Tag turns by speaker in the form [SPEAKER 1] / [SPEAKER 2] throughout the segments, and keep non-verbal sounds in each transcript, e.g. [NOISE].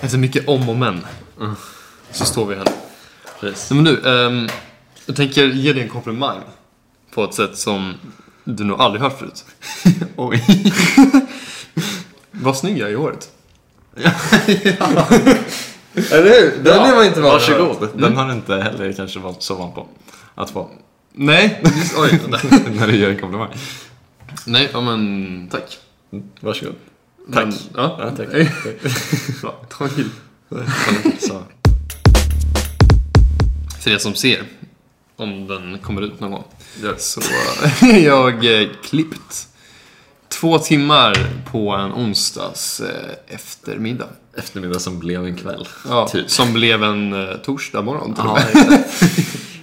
[SPEAKER 1] Efter mycket om och men. Så står vi här nu. Nej, Men du, ehm, jag tänker ge dig en komplimang. På ett sätt som du nog aldrig hört [LAUGHS] förut.
[SPEAKER 2] Oj.
[SPEAKER 1] Vad snygg jag är i håret.
[SPEAKER 2] Eller hur? Den
[SPEAKER 1] Ja,
[SPEAKER 2] är man inte van
[SPEAKER 1] varsågod.
[SPEAKER 2] Mm. Den har du inte heller kanske varit så van på att få. [LAUGHS]
[SPEAKER 1] Nej, just, [LAUGHS] oj.
[SPEAKER 2] när du gör en komplimang.
[SPEAKER 1] Nej, ja men tack.
[SPEAKER 2] Varsågod.
[SPEAKER 1] Men,
[SPEAKER 2] Tack.
[SPEAKER 1] ja.
[SPEAKER 2] Ja, tack.
[SPEAKER 1] Nej. Bra, ta en till.
[SPEAKER 2] Så.
[SPEAKER 1] För er som ser, om den kommer ut någon gång,
[SPEAKER 2] Ja.
[SPEAKER 1] [LAUGHS] så har jag eh, klippt två timmar på en onsdags eh, eftermiddag.
[SPEAKER 2] Eftermiddag som blev en kväll.
[SPEAKER 1] Ja,
[SPEAKER 2] Typ.
[SPEAKER 1] Som blev en eh, torsdag morgon till och
[SPEAKER 2] Ja,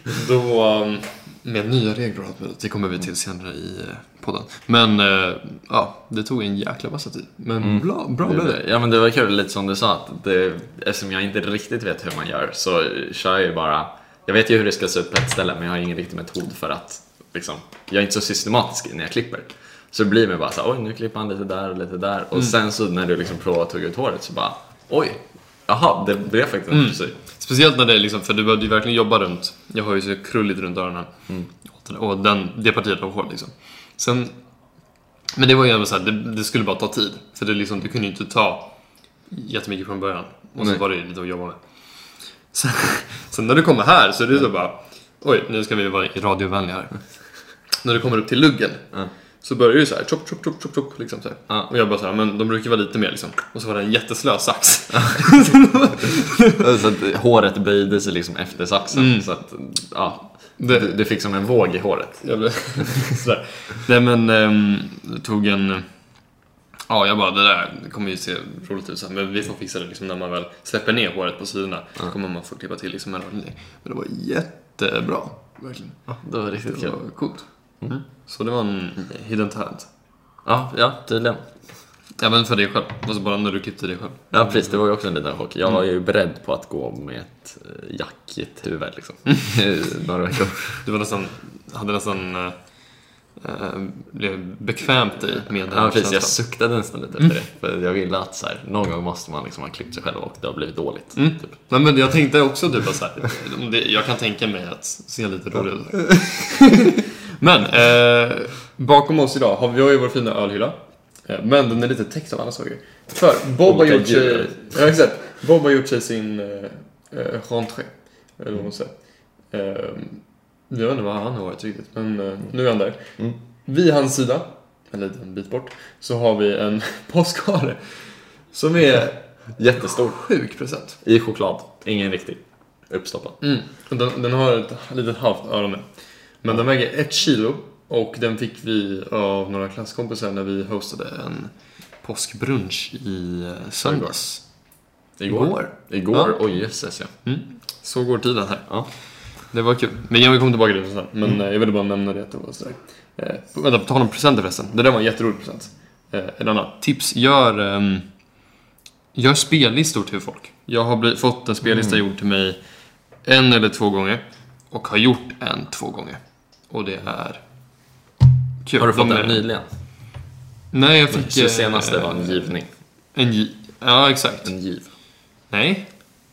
[SPEAKER 1] med. Då, um, med nya regler och allt möjligt, det kommer vi till senare i eh, podden. Men eh, ja, det tog en jäkla massa tid. Men bra, bra blev Mm. det.
[SPEAKER 2] Ja men det var kul, lite som du sa att det, eftersom jag inte riktigt vet hur man gör så kör jag ju bara Jag vet ju hur det ska se ut på ett ställe men jag har ingen riktig metod för att liksom, Jag är inte så systematisk när jag klipper Så det blir mig bara så här, oj nu klipper han lite där och lite där
[SPEAKER 1] Mm.
[SPEAKER 2] och sen så när du liksom provar att tugga ut håret så bara Oj, jaha det blev faktiskt en
[SPEAKER 1] Mm. [LAUGHS]
[SPEAKER 2] frisyr
[SPEAKER 1] Speciellt när det är liksom, för du behövde ju verkligen jobba runt. Jag har ju så krulligt runt öronen.
[SPEAKER 2] Mm.
[SPEAKER 1] Och den, det partiet av hår liksom. Sen, men det var ju ändå så här, det, det skulle bara ta tid. För det är liksom, du kunde ju inte ta jättemycket från början. Och så
[SPEAKER 2] Nej.
[SPEAKER 1] var det ju lite att jobba med. Sen, sen när du kommer här så är det
[SPEAKER 2] Mm.
[SPEAKER 1] så bara, oj nu ska vi vara radiovänliga
[SPEAKER 2] [LAUGHS]
[SPEAKER 1] här. När du kommer upp till luggen.
[SPEAKER 2] Ja.
[SPEAKER 1] Så börjar du så här, chop, chop, chop, chop, chop, liksom så här.
[SPEAKER 2] Ja.
[SPEAKER 1] Och jag bara så här, men de brukar vara lite mer liksom. Och så var det en jätteslö sax.
[SPEAKER 2] Så att håret böjde sig liksom efter saxen
[SPEAKER 1] Mm.
[SPEAKER 2] så att ja
[SPEAKER 1] Det-
[SPEAKER 2] du, du fick som en våg i håret
[SPEAKER 1] Jag blev [LAUGHS] sådär. Nej men, ehm, jag tog en... Ja, jag bara det där kommer ju se roligt ut så här, men vi får fixa det liksom när man väl släpper ner håret på sidorna. kommer man få klippa till liksom en rörelse. Men det var jättebra, verkligen.
[SPEAKER 2] Det var riktigt
[SPEAKER 1] Det
[SPEAKER 2] kul
[SPEAKER 1] var coolt.
[SPEAKER 2] Mm.
[SPEAKER 1] Så det var en hidden talent.
[SPEAKER 2] Ja, ja tydligen
[SPEAKER 1] Även för dig själv, alltså bara när du klippte dig själv.
[SPEAKER 2] Ja precis, det var ju också en liten chock. Jag var
[SPEAKER 1] Mm.
[SPEAKER 2] ju beredd på att gå med ett eh, jackigt huvud
[SPEAKER 1] [LAUGHS]
[SPEAKER 2] liksom. [LAUGHS] I Några veckor.
[SPEAKER 1] Du var nästan, hade nästan eh, eh, blev bekvämt i med den
[SPEAKER 2] Ja precis, jag
[SPEAKER 1] känslan.
[SPEAKER 2] suktade nästan lite
[SPEAKER 1] Mm.
[SPEAKER 2] efter det. För jag ville att så här, någon gång måste man liksom ha klippt sig själv och det har blivit dåligt. Typ.
[SPEAKER 1] Nej men jag tänkte också typ att så här, om det, jag kan tänka mig att se lite rolig
[SPEAKER 2] [LAUGHS]
[SPEAKER 1] ut. men eh, bakom oss idag har vi vi har ju vår fina ölhylla. Eh, Men den är lite täckt av andra saker. För Bob har
[SPEAKER 2] Olika
[SPEAKER 1] gjort sig,
[SPEAKER 2] djur.
[SPEAKER 1] ja, exakt. Bob har gjort sig sin eh, eh, rentré. Eller vad man säger. Eh, jag vet inte vad han har varit riktigt, men eh, nu är han där.
[SPEAKER 2] Mm.
[SPEAKER 1] Vid hans sida, en liten bit bort, så har vi en [LAUGHS] påskhare. Som är
[SPEAKER 2] Jättestort.
[SPEAKER 1] sjuk present.
[SPEAKER 2] I choklad. Ingen riktig. Uppstoppad.
[SPEAKER 1] Mm. och Den, den har ett litet halvt öron med. Men den väger ett kilo och den fick vi av några klasskompisar när vi hostade en påskbrunch i eh, söndags. Igår.
[SPEAKER 2] Igår? Oj jösses ja.
[SPEAKER 1] Så går tiden här.
[SPEAKER 2] Ja.
[SPEAKER 1] Mm. Det var kul. Men jag kommer tillbaka till det sen. Men
[SPEAKER 2] Mm.
[SPEAKER 1] eh, jag ville bara nämna det att det var sådär. Eh, vänta, på tal om presenter förresten. Det där var en jätterolig present. Eh, en annan tips. Gör, ehm, gör spellistor till folk. Jag har bli, fått en spellista
[SPEAKER 2] Mm.
[SPEAKER 1] gjord till mig en eller två gånger. Och har gjort en två gånger. Och det är kul.
[SPEAKER 2] Har du fått
[SPEAKER 1] De
[SPEAKER 2] den
[SPEAKER 1] är-
[SPEAKER 2] nyligen?
[SPEAKER 1] Nej, jag fick...
[SPEAKER 2] Så
[SPEAKER 1] eh,
[SPEAKER 2] senaste var en givning.
[SPEAKER 1] En gi- Ja, exakt.
[SPEAKER 2] En giv.
[SPEAKER 1] Nej.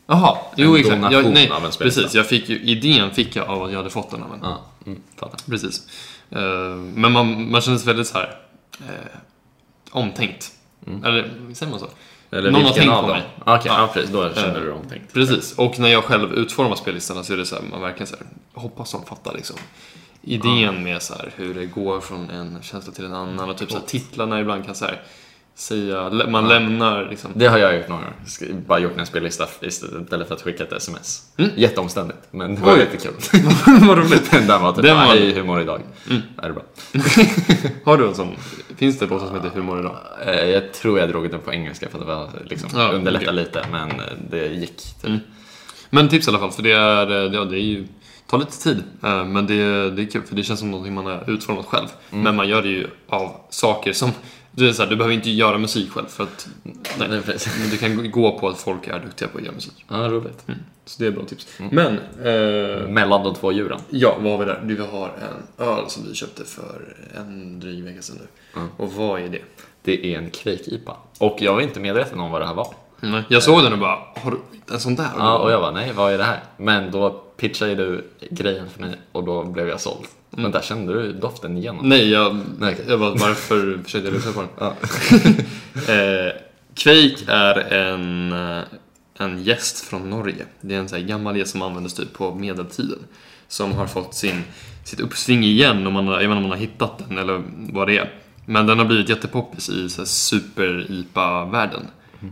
[SPEAKER 1] Jaha, jo
[SPEAKER 2] En
[SPEAKER 1] exakt. Jag,
[SPEAKER 2] donation
[SPEAKER 1] nej,
[SPEAKER 2] av en spellista.
[SPEAKER 1] precis. Jag fick ju, idén fick jag av att jag hade fått den av en.
[SPEAKER 2] Ja, mm, fattar.
[SPEAKER 1] Precis. Eh, men man, man kändes väldigt så här eh, omtänkt. Eller säger man så?
[SPEAKER 2] Mm. Eller
[SPEAKER 1] Någon har
[SPEAKER 2] vilken
[SPEAKER 1] tänkt
[SPEAKER 2] av
[SPEAKER 1] på
[SPEAKER 2] dem?
[SPEAKER 1] mig.
[SPEAKER 2] Okej, ja.
[SPEAKER 1] Ja.
[SPEAKER 2] precis. Då kände du dig omtänkt.
[SPEAKER 1] Precis. Och när jag själv utformar spellistorna så är det så här, man verkligen så här, hoppas de fattar liksom. Idén med så här, hur det går från en känsla till en annan och typ så här, titlarna ibland kan så här, säga, lä- man lämnar
[SPEAKER 2] [LAUGHS]
[SPEAKER 1] liksom.
[SPEAKER 2] Det har jag gjort några gånger. Sk- Bara gjort en spellista f- istället för att skicka ett sms. Jätteomständigt, men det var
[SPEAKER 1] Oj.
[SPEAKER 2] jättekul.
[SPEAKER 1] Vad roligt.
[SPEAKER 2] [LAUGHS] Den där var typ
[SPEAKER 1] Den
[SPEAKER 2] bara,
[SPEAKER 1] var-
[SPEAKER 2] hej hur mår du idag? Är det bra?
[SPEAKER 1] Har du en sån? Finns det en som heter Humor idag?
[SPEAKER 2] Eh, Jag tror jag drog den på engelska för att det var liksom,
[SPEAKER 1] Ja,
[SPEAKER 2] underlätta lite, men eh, det gick. Typ.
[SPEAKER 1] Men tips i alla fall, för det är, eh, ja, det är ju, tar lite tid. eh, Men det, det är kul, för det känns som någonting man har utformat själv. Men man gör det ju av saker som, du, är så här, du behöver inte göra musik själv för att nej,
[SPEAKER 2] Nej, precis.
[SPEAKER 1] [LAUGHS] men du kan gå på att folk är duktiga på att göra musik.
[SPEAKER 2] Ja, roligt.
[SPEAKER 1] Så det är bra tips. Men, eh,
[SPEAKER 2] Mellan de två djuren.
[SPEAKER 1] ja, vad har vi där? Vi har en öl som vi köpte för en dryg vecka sedan nu. Och vad är det?
[SPEAKER 2] Det är en kvejk-IPA. Och jag var inte medveten om vad det här var.
[SPEAKER 1] Nej, jag såg den och bara, har du en sån där?
[SPEAKER 2] Ja, och jag bara, nej, vad är det här? Men då pitchade du grejen för mig och då blev jag såld. Men där kände du doften igenom.
[SPEAKER 1] Nej, jag,
[SPEAKER 2] Nej, okej.
[SPEAKER 1] jag bara, varför försökte jag lyssna på den?
[SPEAKER 2] Ja.
[SPEAKER 1] [LAUGHS] Eh, Quake är en, eh, en gäst från Norge. Det är en så här gammal gäst som användes typ på medeltiden. Som har fått sin, sitt uppsving igen, om man, har- jag vet inte om man har hittat den eller vad det är. Men den har blivit jättepoppis i så här super-IPA-världen.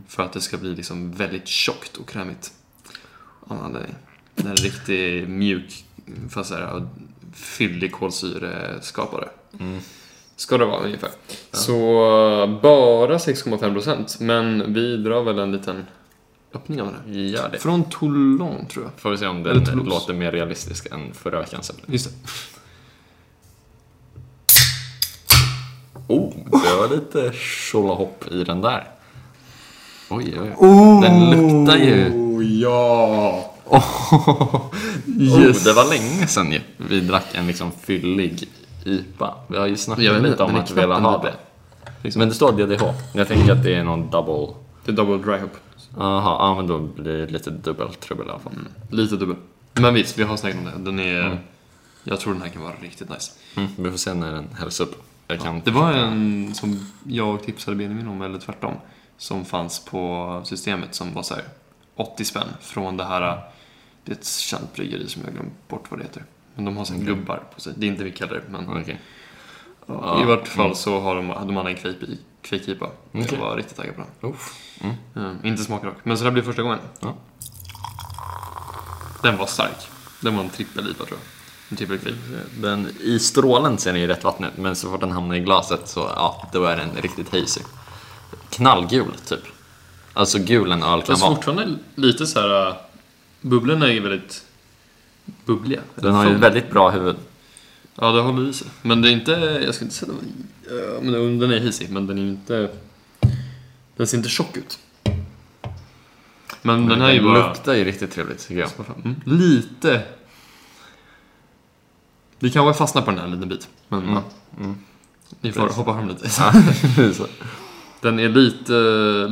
[SPEAKER 1] För att det ska bli liksom väldigt tjockt och krämigt. Av någon anledning. Den är en riktig mjuk, fast så här, fyllig kolsyreskapare. Ska det vara ungefär. Så bara 6,5% men vi drar väl en liten öppning av det. här.
[SPEAKER 2] Gör det.
[SPEAKER 1] Från Toulon tror jag.
[SPEAKER 2] Får vi se om
[SPEAKER 1] Eller
[SPEAKER 2] den
[SPEAKER 1] Toulouse.
[SPEAKER 2] låter mer realistisk än förra veckans ämne.
[SPEAKER 1] Just det.
[SPEAKER 2] Oh, det var lite tjolahopp i den där. Oj, oj, oj.
[SPEAKER 1] Oh,
[SPEAKER 2] Den luktar ju. [LAUGHS]
[SPEAKER 1] Ja!
[SPEAKER 2] Oh, det var länge sedan ju. Vi drack en liksom fyllig IPA. Vi har ju snackat
[SPEAKER 1] Jag vet
[SPEAKER 2] lite
[SPEAKER 1] inte,
[SPEAKER 2] om
[SPEAKER 1] men
[SPEAKER 2] att
[SPEAKER 1] det
[SPEAKER 2] vi
[SPEAKER 1] är knappt
[SPEAKER 2] vill
[SPEAKER 1] en
[SPEAKER 2] ha
[SPEAKER 1] IPA.
[SPEAKER 2] det. Men det står DDH. Jag tänker att det är någon double...
[SPEAKER 1] Det är double dry hop.
[SPEAKER 2] Jaha, ja, men då blir det lite dubbeltrubbel i alla fall.
[SPEAKER 1] Lite dubbel. Men visst, vi har snackat om det. Den är... Jag tror den här kan vara riktigt nice.
[SPEAKER 2] Mm, vi får se när den hälls upp. Jag kan...
[SPEAKER 1] Det var en som jag tipsade Benjamin om, eller tvärtom, som fanns på systemet som var så här 80 spänn från det här, det är ett känt bryggeri som jag glömt bort vad det heter. Men de har sån
[SPEAKER 2] Okej.
[SPEAKER 1] gubbar på sig, det är inte vi kallar det, men
[SPEAKER 2] Okej.
[SPEAKER 1] i vart fall så har de, hade man en Quake i- Quake IPA.
[SPEAKER 2] Mm. Okej.
[SPEAKER 1] Jag var riktigt taggad på den.
[SPEAKER 2] Uff.
[SPEAKER 1] Mm, inte smakar dock, men så det här blir första gången.
[SPEAKER 2] Ja.
[SPEAKER 1] Den var stark. Den var en trippel IPA tror jag. En trippel Quake.
[SPEAKER 2] Den, I strålen ser den ju rätt vattnig ut, men så fort den hamnar i glaset så ja, då är den riktigt hazy. Knallgul, typ. Alltså gul en öl kan
[SPEAKER 1] Fast
[SPEAKER 2] vara.
[SPEAKER 1] fortfarande lite så här, äh, bubblorna är ju väldigt bubbliga.
[SPEAKER 2] Den har ju
[SPEAKER 1] Full.
[SPEAKER 2] väldigt bra huvud.
[SPEAKER 1] Ja, det håller i sig. Men det är inte, jag skulle inte säga den, uh, men den- den är hisig, men den är inte, den ser inte tjock ut. Men den här är ju bara
[SPEAKER 2] luktar ju riktigt trevligt,
[SPEAKER 1] [LAUGHS]
[SPEAKER 2] tycker jag.
[SPEAKER 1] mm, lite, vi kanske fastnar på den här en liten bit, men ja. Mm. ni får hoppa fram lite.
[SPEAKER 2] Så.
[SPEAKER 1] Den är lite,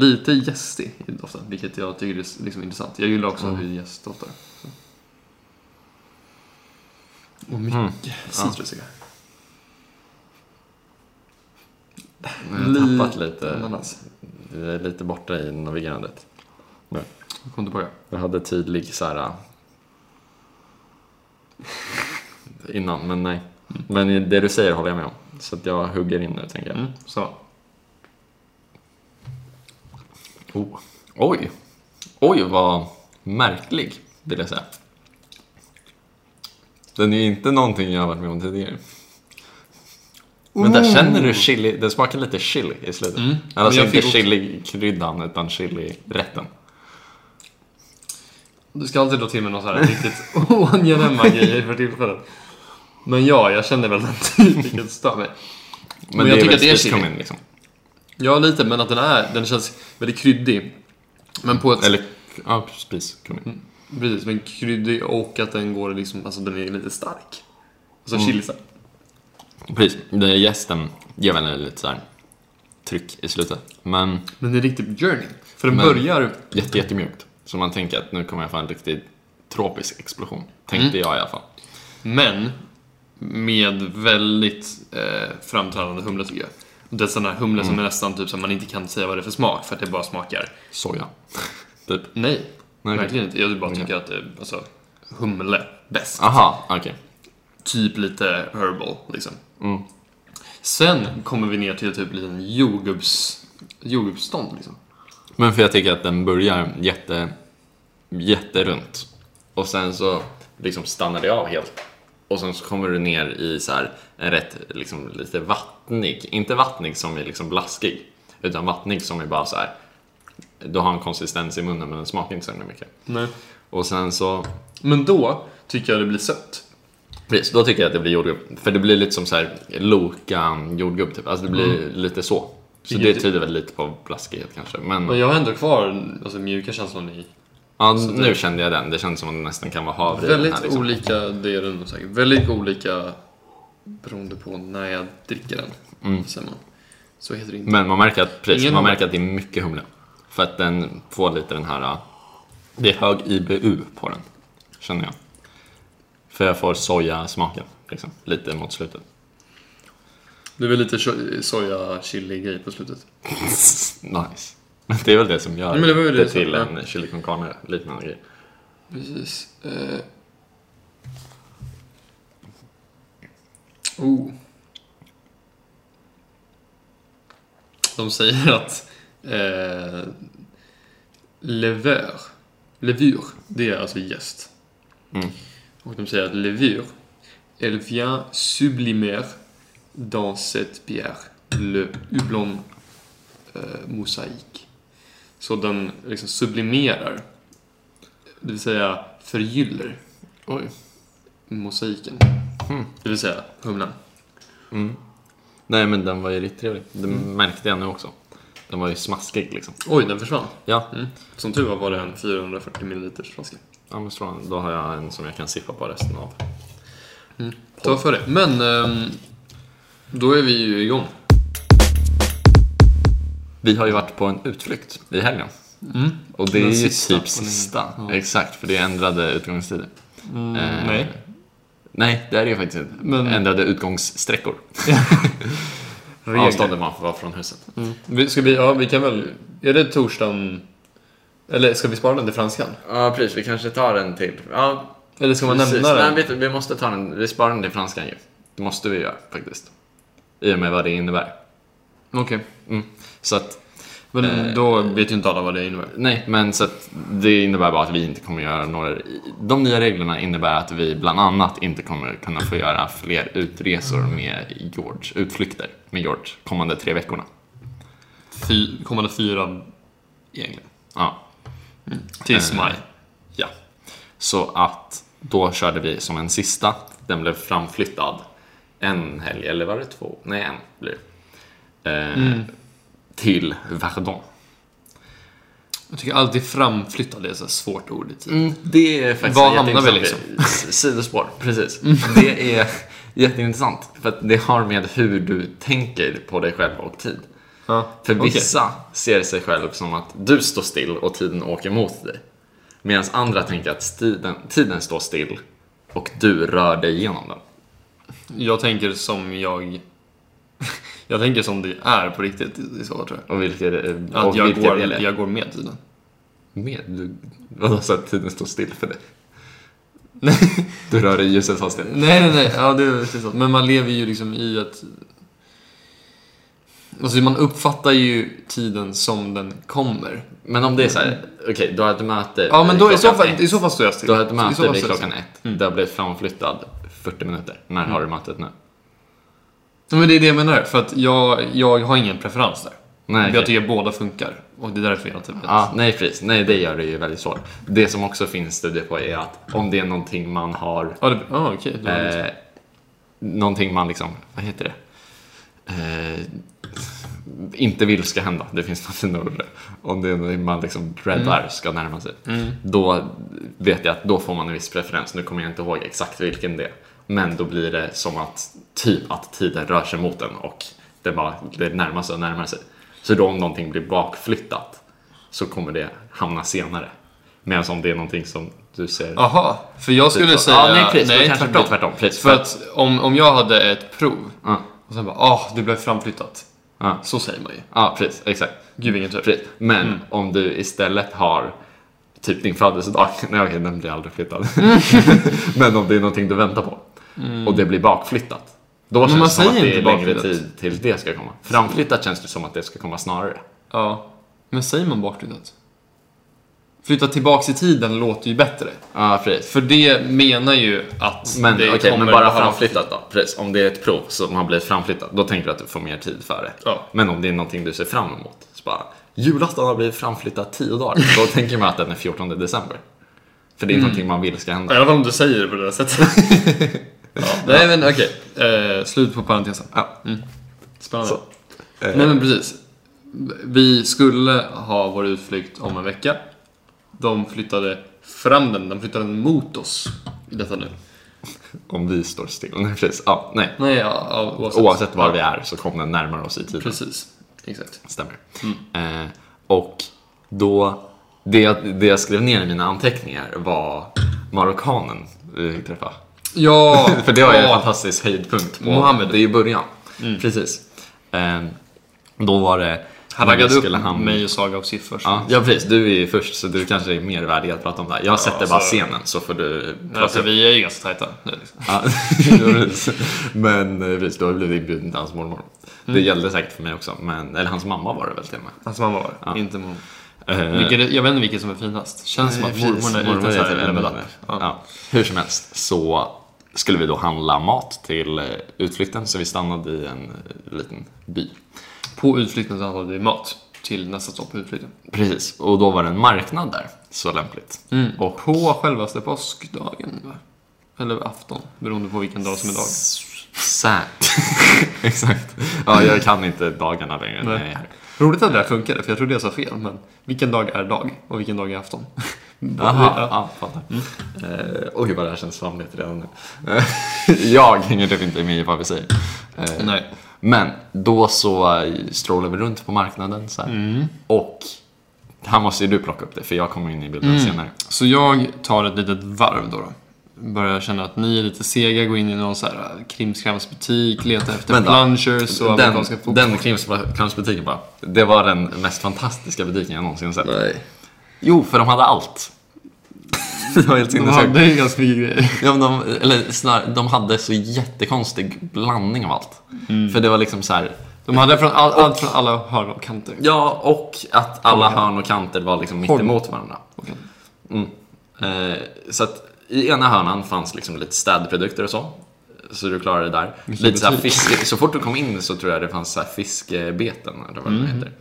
[SPEAKER 1] lite gästig i doften, vilket jag tycker är liksom intressant. Jag gillar också hur gäst doftar. så. Och mycket citrusig.
[SPEAKER 2] Nu har jag tappat lite,
[SPEAKER 1] Ananas.
[SPEAKER 2] jag är lite borta i navigerandet.
[SPEAKER 1] Kom tillbaka.
[SPEAKER 2] Jag hade tydlig så här. äh, Innan, men nej.
[SPEAKER 1] Mm.
[SPEAKER 2] Men det du säger håller jag med om. Så att jag hugger in nu, tänker jag.
[SPEAKER 1] Mm, så.
[SPEAKER 2] Oh. Oj! Oj, vad märklig, vill jag säga. Den är ju inte någonting jag har varit med om tidigare. Men där känner du chili, det smakar lite chili i slutet.
[SPEAKER 1] Oh. Mm, men
[SPEAKER 2] Alltså
[SPEAKER 1] jag
[SPEAKER 2] inte
[SPEAKER 1] fick också-
[SPEAKER 2] chili-kryddan, utan chili-rätten.
[SPEAKER 1] Du ska alltid dra till med någon så [LAUGHS] här riktigt oangenäma grejer för tillfället. Men ja, jag känner väl den [LAUGHS] typ, vilket stör mig.
[SPEAKER 2] Men,
[SPEAKER 1] Men
[SPEAKER 2] det
[SPEAKER 1] jag
[SPEAKER 2] är
[SPEAKER 1] tycker
[SPEAKER 2] väl
[SPEAKER 1] att det är
[SPEAKER 2] Swiss
[SPEAKER 1] chili.
[SPEAKER 2] cumin, liksom.
[SPEAKER 1] Ja, lite, men att den är, den känns väldigt kryddig. Men på ett...
[SPEAKER 2] Eller, ja, precis.
[SPEAKER 1] Mm.
[SPEAKER 2] Cumin.
[SPEAKER 1] Precis, men kryddig och att den går liksom, alltså den är lite stark. Alltså mm. chili stark.
[SPEAKER 2] Precis. Den här gästen ger väl en lite så här tryck i slutet. Men
[SPEAKER 1] Men det är riktigt journey. För den
[SPEAKER 2] Men-
[SPEAKER 1] börjar...
[SPEAKER 2] jätte, jättemjukt. Så man tänker att nu kommer jag få en riktigt tropisk explosion.
[SPEAKER 1] Mm.
[SPEAKER 2] Tänkte jag i alla fall.
[SPEAKER 1] Men med väldigt eh, framträdande humle tycker jag. Och Det är sådana här humle som är
[SPEAKER 2] Mm.
[SPEAKER 1] nästan typ som man inte kan säga vad det är för smak för att det bara smakar.
[SPEAKER 2] Soja. typ.
[SPEAKER 1] Nej,
[SPEAKER 2] Nej,
[SPEAKER 1] verkligen inte. Jag typ bara
[SPEAKER 2] Okej. Ah.
[SPEAKER 1] tycker att det är alltså, humle bäst.
[SPEAKER 2] Aha, okej.
[SPEAKER 1] Typ lite herbal liksom.
[SPEAKER 2] Mm.
[SPEAKER 1] Sen kommer vi ner till typ liten jordgubbs, jordgubbsstånd liksom.
[SPEAKER 2] Men för jag tycker att den börjar jätte, jätterunt. Och sen så liksom stannar det av helt. Och sen så kommer du ner i så här en rätt, liksom lite vattnig. Inte vattnig som är liksom blaskig. Utan vattnig som är bara så här. Du har en konsistens i munnen men den smakar inte så himla mycket.
[SPEAKER 1] Nej.
[SPEAKER 2] Och sen så
[SPEAKER 1] Men då tycker jag det blir sött.
[SPEAKER 2] Precis, då tycker jag att det blir jordgubb. För det blir lite som så här Loka jordgubb typ. Alltså det blir lite så. Så
[SPEAKER 1] Vilket-
[SPEAKER 2] det tyder väl lite på blaskighet kanske. Men
[SPEAKER 1] Men jag har ändå kvar alltså, mjuka känslan i.
[SPEAKER 2] ja, nu kände jag den. Det känns som att det nästan kan vara havre i den
[SPEAKER 1] Väldigt
[SPEAKER 2] här, liksom.
[SPEAKER 1] olika, det är det nog säkert. Väldigt olika beroende på när jag Mm. dricker den. Säger man. Så heter det inte.
[SPEAKER 2] Men man märker att, precis,
[SPEAKER 1] Ingen
[SPEAKER 2] man
[SPEAKER 1] humle.
[SPEAKER 2] märker att det är mycket humle. För att den får lite den här... ah, Det är hög IBU på den, känner jag. För jag får sojasmaken, liksom, lite mot slutet. [LAUGHS]
[SPEAKER 1] Det är väl lite cho- soja chili grej på slutet.
[SPEAKER 2] nice. Men det är väl det som gör
[SPEAKER 1] Ja, men det var ju det som-
[SPEAKER 2] till
[SPEAKER 1] ja.
[SPEAKER 2] en chili con carne liknande grej.
[SPEAKER 1] Precis. Eh. Oh. De säger att eh, levör, levure, det är alltså jäst.
[SPEAKER 2] Mm.
[SPEAKER 1] Och de säger att levure, elle vient sublimer dans cette pierre, le houblon eh, mosaik. Så den liksom sublimerar det vill säga förgyller
[SPEAKER 2] Oj.
[SPEAKER 1] mosaiken.
[SPEAKER 2] Mm.
[SPEAKER 1] Det vill säga humlan.
[SPEAKER 2] Mm. Nej, men den var ju riktigt trevlig. Det
[SPEAKER 1] Mm.
[SPEAKER 2] märkte jag nu också. Den var ju smaskig liksom.
[SPEAKER 1] Oj, den försvann.
[SPEAKER 2] Ja,
[SPEAKER 1] Mm. Som tur var var det en 440 ml flaska.
[SPEAKER 2] ja men så, då har jag en som jag kan sippa på resten av.
[SPEAKER 1] Ta för det. Men ehm, då är vi ju igång.
[SPEAKER 2] Vi har ju varit på en utflykt i helgen.
[SPEAKER 1] Mm.
[SPEAKER 2] Och det
[SPEAKER 1] Den
[SPEAKER 2] är ju
[SPEAKER 1] sista
[SPEAKER 2] typ
[SPEAKER 1] på
[SPEAKER 2] sista.
[SPEAKER 1] länge. Ja.
[SPEAKER 2] Exakt, för det är ändrade utgångstider. Eh,
[SPEAKER 1] Mm, nej.
[SPEAKER 2] Nej, det är det ju faktiskt inte.
[SPEAKER 1] Men-
[SPEAKER 2] Ändrade utgångssträckor. Avstånden man får vara från huset.
[SPEAKER 1] Vi, ska vi, ja, vi kan väl... Är det torsdagen? Eller ska vi spara den till franskan?
[SPEAKER 2] Ja, precis. Vi kanske tar en till. Ja,
[SPEAKER 1] Eller ska man
[SPEAKER 2] precis.
[SPEAKER 1] nämna
[SPEAKER 2] Nej,
[SPEAKER 1] den?
[SPEAKER 2] vet du, vi måste ta den. Vi sparar den till franskan ju. Det måste vi göra faktiskt. I och med vad det innebär.
[SPEAKER 1] Okej.
[SPEAKER 2] Mm. Så att,
[SPEAKER 1] Men
[SPEAKER 2] Eh,
[SPEAKER 1] då vet ju inte alla vad det innebär.
[SPEAKER 2] nej, men så att det innebär bara att vi inte kommer göra några... De nya reglerna innebär att vi bland annat inte kommer kunna få göra fler utresor med George, utflykter med George kommande tre veckorna.
[SPEAKER 1] Fy, kommande fyra egentligen.
[SPEAKER 2] Ja,
[SPEAKER 1] Tills
[SPEAKER 2] Eh,
[SPEAKER 1] maj.
[SPEAKER 2] Ja. Så att då körde vi som en sista. Den blev framflyttad en helg, eller var det två? Nej, en blir det. eh,
[SPEAKER 1] Mm.
[SPEAKER 2] Till Verdun.
[SPEAKER 1] Jag tycker alltid framflyttad är ett så här svårt ord i tid.
[SPEAKER 2] Mm, det är faktiskt
[SPEAKER 1] Var hamnar
[SPEAKER 2] jätteintressant.
[SPEAKER 1] vi liksom?
[SPEAKER 2] S- Sidospår, precis. Det är jätteintressant. För att det har med hur du tänker på dig själv och tid.
[SPEAKER 1] Ja,
[SPEAKER 2] För
[SPEAKER 1] okej.
[SPEAKER 2] vissa ser sig själv som att du står still och tiden åker mot dig. Medan andra tänker att tiden, tiden står still och du rör dig genom den.
[SPEAKER 1] Jag tänker som jag... [LAUGHS] Jag tänker som det är på riktigt i i så fall tror jag.
[SPEAKER 2] Och vilka är det?
[SPEAKER 1] Att
[SPEAKER 2] och
[SPEAKER 1] jag
[SPEAKER 2] vilka
[SPEAKER 1] går,
[SPEAKER 2] är det?
[SPEAKER 1] jag går med tiden.
[SPEAKER 2] Med? Du, vadå, så att tiden står still för dig? [LAUGHS] du rör dig i ljusets hastighet.
[SPEAKER 1] Nej, nej, nej. Ja, det är precis så. Men man lever ju liksom i att... Alltså man uppfattar ju tiden som den kommer.
[SPEAKER 2] Men om det är så här, okej, du har ett möte eh,
[SPEAKER 1] Ja, men då i
[SPEAKER 2] klockan
[SPEAKER 1] så fall,
[SPEAKER 2] ett.
[SPEAKER 1] i så fall står jag still.
[SPEAKER 2] Du har ett
[SPEAKER 1] I så Mm.
[SPEAKER 2] möte
[SPEAKER 1] fall
[SPEAKER 2] vid
[SPEAKER 1] står jag
[SPEAKER 2] klockan ett. Det har blivit framflyttad 40 minuter. När har
[SPEAKER 1] Mm.
[SPEAKER 2] du mötet nu?
[SPEAKER 1] still. Men det är det jag menar. För att jag, jag har ingen preferens där.
[SPEAKER 2] Nej, okej.
[SPEAKER 1] Jag tycker båda funkar. Och det är därför jag typ...
[SPEAKER 2] Ja, nej precis. Nej, det gör det ju väldigt svårt. Det som också finns studier på är att om det är någonting man har
[SPEAKER 1] Ja, det, ah, okej. Det var lite-
[SPEAKER 2] eh, någonting man liksom, vad heter det? Eh, inte vill ska hända, det finns [LAUGHS] något fina ord för det. Om det är någonting man liksom dreadar
[SPEAKER 1] Mm.
[SPEAKER 2] ska närma sig. Då vet jag att då får man en viss preferens. Nu kommer jag inte ihåg exakt vilken det är. Men då blir det som att typ att tiden rör sig mot en och det, bara, det närmar sig och närmar sig. Så då om någonting blir bakflyttat så kommer det hamna senare. Medan om det är någonting som du ser
[SPEAKER 1] Aha, för jag skulle
[SPEAKER 2] Typ så.
[SPEAKER 1] säga...
[SPEAKER 2] Ja, nej, precis. Då kanske det blir tvärtom. Precis.
[SPEAKER 1] För att om, om jag hade ett prov
[SPEAKER 2] Ja.
[SPEAKER 1] och sen bara ah, det blev framflyttat.
[SPEAKER 2] Ja.
[SPEAKER 1] Så säger man ju.
[SPEAKER 2] Ja, precis. Exakt.
[SPEAKER 1] Gud vilken tur.
[SPEAKER 2] Precis. Men
[SPEAKER 1] Mm.
[SPEAKER 2] om du istället har typ din födelsedag. [LAUGHS] Nej, okej, den blir
[SPEAKER 1] [LAUGHS]
[SPEAKER 2] aldrig flyttad. Men om det är någonting du väntar på och det blir bakflyttat. Då känns
[SPEAKER 1] Mm. man
[SPEAKER 2] det som att
[SPEAKER 1] säger
[SPEAKER 2] det är
[SPEAKER 1] inte
[SPEAKER 2] längre
[SPEAKER 1] bakflyttat.
[SPEAKER 2] tid till det ska komma. Framflyttat känns det som att det ska komma snarare.
[SPEAKER 1] Ja. Men säger man bakflyttat? Flytta tillbaks i tiden låter ju bättre.
[SPEAKER 2] Ja, precis.
[SPEAKER 1] För det menar ju att
[SPEAKER 2] Men,
[SPEAKER 1] det
[SPEAKER 2] okej, men
[SPEAKER 1] kommer
[SPEAKER 2] bara
[SPEAKER 1] ha-
[SPEAKER 2] framflyttat då. Precis. Om det är ett prov som har blivit framflyttat, då tänker du att du får mer tid för det.
[SPEAKER 1] Ja.
[SPEAKER 2] Men om det är någonting du ser fram emot, så bara julafton har blivit framflyttat 10 dagar. Då tänker man att den är 14 december. För det
[SPEAKER 1] Mm.
[SPEAKER 2] är någonting man vill ska hända.
[SPEAKER 1] I alla fall om du säger det på det där sättet. [LAUGHS] ja. Nej men okej. Eh, slut på parentesen.
[SPEAKER 2] Ja.
[SPEAKER 1] Mm. Spännande.
[SPEAKER 2] Så. Eh.
[SPEAKER 1] Nej men precis. Vi skulle ha vår utflykt om en vecka. De flyttade fram den, de flyttade den mot oss. I detta nu.
[SPEAKER 2] Om vi står still. [LAUGHS] Nej, precis. Ja, nej.
[SPEAKER 1] Nej, ja, ja, oavsett.
[SPEAKER 2] Oavsett var vi är så kommer den närmare oss i tiden.
[SPEAKER 1] Precis, exakt.
[SPEAKER 2] Stämmer. Eh, och Då, det, jag- det jag skrev ner i mina anteckningar var marockanen vi
[SPEAKER 1] [LAUGHS]
[SPEAKER 2] fick träffa.
[SPEAKER 1] Ja!
[SPEAKER 2] [LAUGHS] För det var ju en
[SPEAKER 1] ja.
[SPEAKER 2] fantastisk höjdpunkt på...
[SPEAKER 1] Mohammed. Mm.
[SPEAKER 2] Det är ju början. Precis. Ehm, då var det...
[SPEAKER 1] Han
[SPEAKER 2] när
[SPEAKER 1] raggade upp
[SPEAKER 2] skulle han-
[SPEAKER 1] mig och Saga av Sif först.
[SPEAKER 2] Ja, ja, precis. Du är ju först, så du kanske är mer värdig att prata om det här. Jag sätter bara
[SPEAKER 1] så-
[SPEAKER 2] scenen, så får du
[SPEAKER 1] Men
[SPEAKER 2] prata
[SPEAKER 1] Alltså, vi är ju ganska tajta nu. Liksom.
[SPEAKER 2] Ja, [LAUGHS] precis. men eh, precis, då har jag blivit inbjuden till hans mormor. Det gällde säkert för mig också, men, eller hans mamma var det väl till och med.
[SPEAKER 1] Hans mamma Alltså, var det, inte mormor.
[SPEAKER 2] Eh,
[SPEAKER 1] Vilket, är- jag vet inte vilket som är finast. Känns som att
[SPEAKER 2] precis,
[SPEAKER 1] mormorna är lite
[SPEAKER 2] mormor
[SPEAKER 1] såhär
[SPEAKER 2] typ en
[SPEAKER 1] level up.
[SPEAKER 2] minne.
[SPEAKER 1] Ja.
[SPEAKER 2] Ja, Hur som helst så skulle vi då handla mat till eh, utflykten, så vi stannade i en eh, liten by.
[SPEAKER 1] På utflykten så handlade vi mat till nästa stopp på utflykten.
[SPEAKER 2] Precis, och då var det en marknad där, så lämpligt.
[SPEAKER 1] Och på självaste påskdagen, va? Eller afton, beroende på vilken dag som är dag.
[SPEAKER 2] Särt. [LAUGHS] Exakt. Ja, jag kan inte dagarna längre när
[SPEAKER 1] Nej.
[SPEAKER 2] jag är här.
[SPEAKER 1] Roligt att det där funkade, för jag trodde jag sa fel. Men vilken dag är dag och vilken dag är afton? [LAUGHS]
[SPEAKER 2] Jaha,
[SPEAKER 1] Ja. Mm.
[SPEAKER 2] ja, fattar. Eh, oj, vad det här känns svamligt redan
[SPEAKER 1] [LAUGHS]
[SPEAKER 2] nu. Eh, jag hänger typ inte med i vad vi säger. Eh,
[SPEAKER 1] Nej.
[SPEAKER 2] men då så eh, strålar vi runt på marknaden så här.
[SPEAKER 1] Mm.
[SPEAKER 2] Och här måste ju du plocka upp det, för jag kommer in i bilden
[SPEAKER 1] Mm.
[SPEAKER 2] senare.
[SPEAKER 1] Så jag tar ett litet varv då. då. Börjar känna att ni är lite sega, går in i någon så här krimskramsbutik, letar efter
[SPEAKER 2] Vänta.
[SPEAKER 1] plungers och
[SPEAKER 2] Den,
[SPEAKER 1] amerikanska fotboll.
[SPEAKER 2] den krimskransbutiken bara. Det var den mest fantastiska butiken jag någonsin sett.
[SPEAKER 1] Nej.
[SPEAKER 2] Jo, för de hade
[SPEAKER 1] [LAUGHS]
[SPEAKER 2] allt. det var helt
[SPEAKER 1] De
[SPEAKER 2] sinnessjukt.
[SPEAKER 1] hade ju ganska mycket grejer.
[SPEAKER 2] Ja, men de, eller snar, de hade så jättekonstig blandning av allt.
[SPEAKER 1] Mm.
[SPEAKER 2] För det var liksom så här.
[SPEAKER 1] De hade från all, allt från alla hörn och kanter.
[SPEAKER 2] Ja, och att alla hörn och kanter var liksom
[SPEAKER 1] typ. Håll.
[SPEAKER 2] mittemot varandra.
[SPEAKER 1] Okej.
[SPEAKER 2] Mm. Eh, så att i ena hörnan fanns liksom lite städprodukter och så. Så du klarade det där. lite så, här
[SPEAKER 1] butik.
[SPEAKER 2] fiske, så fort du kom in så tror jag det fanns så här fiskebeten eller vad
[SPEAKER 1] Mm.
[SPEAKER 2] det heter.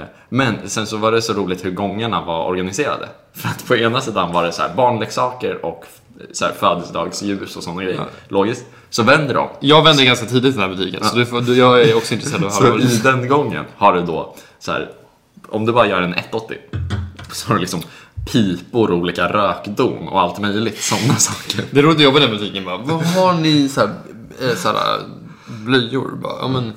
[SPEAKER 2] Eh, Men sen så var det så roligt hur gångarna var organiserade. [LAUGHS] För att på ena sidan var det så här barnleksaker och så här födelsedagsljus och sådana grejer.
[SPEAKER 1] Ja.
[SPEAKER 2] Logiskt. Så vänder de
[SPEAKER 1] Jag vände ganska tidigt i den här butiken, så du får, du, jag är också intresserad av att höra
[SPEAKER 2] [LAUGHS] Så
[SPEAKER 1] vad
[SPEAKER 2] i
[SPEAKER 1] du...
[SPEAKER 2] den gången har du då så här, om du bara gör en 180 så har du liksom pipor, olika rökdon och allt möjligt sådana [LAUGHS] saker.
[SPEAKER 1] Det är roligt att jobba i den butiken bara. Vad har ni så här, eh, så här eh, blöjor? Bara, ja, men,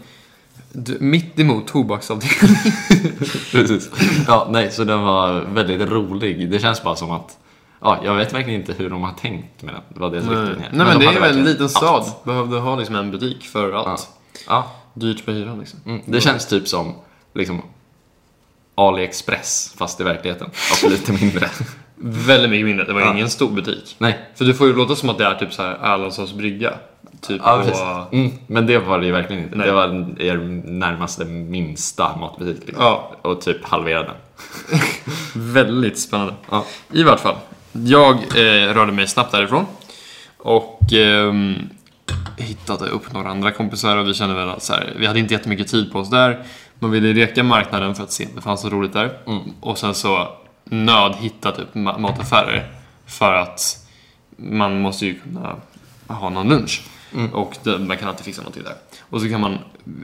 [SPEAKER 1] du, mitt emot tobaksavdelningen.
[SPEAKER 2] [LAUGHS] Precis. Ja, nej, så den var väldigt rolig. Det känns bara som att Ja, jag vet verkligen inte hur de har tänkt med den. Vad det är
[SPEAKER 1] Nej,
[SPEAKER 2] riktigt
[SPEAKER 1] men,
[SPEAKER 2] de
[SPEAKER 1] det är
[SPEAKER 2] hade
[SPEAKER 1] ju en
[SPEAKER 2] verkligen
[SPEAKER 1] liten
[SPEAKER 2] allt.
[SPEAKER 1] stad. Behövde ha liksom en butik för
[SPEAKER 2] Ja.
[SPEAKER 1] allt.
[SPEAKER 2] ja.
[SPEAKER 1] Dyrt med hyran liksom.
[SPEAKER 2] Mm. Det känns typ som liksom, AliExpress, fast i verkligheten. Och lite mindre. [LAUGHS]
[SPEAKER 1] Väldigt mycket mindre. Det var ju ingen stor butik.
[SPEAKER 2] nej,
[SPEAKER 1] För du får ju låta som att det är typ så här Erlandssons brygga. Typ
[SPEAKER 2] Ja, precis.
[SPEAKER 1] på...
[SPEAKER 2] Mm, men det var det ju verkligen inte.
[SPEAKER 1] Nej.
[SPEAKER 2] Det var er närmaste minsta matbutik. Liksom.
[SPEAKER 1] Ja.
[SPEAKER 2] Och typ halverade den.
[SPEAKER 1] [LAUGHS] Väldigt spännande.
[SPEAKER 2] Ja.
[SPEAKER 1] I vart fall. Jag eh, rörde mig snabbt därifrån. Och ehm, hittade upp några andra kompisar och vi kände väl att så här, vi hade inte jättemycket tid på oss där. Man ville reka marknaden för att se om det fanns något roligt där. Och sen så nödhitta typ ma- mataffärer. För att man måste ju kunna ha någon lunch. Och det, man kan alltid fixa någonting där. Och så kan man,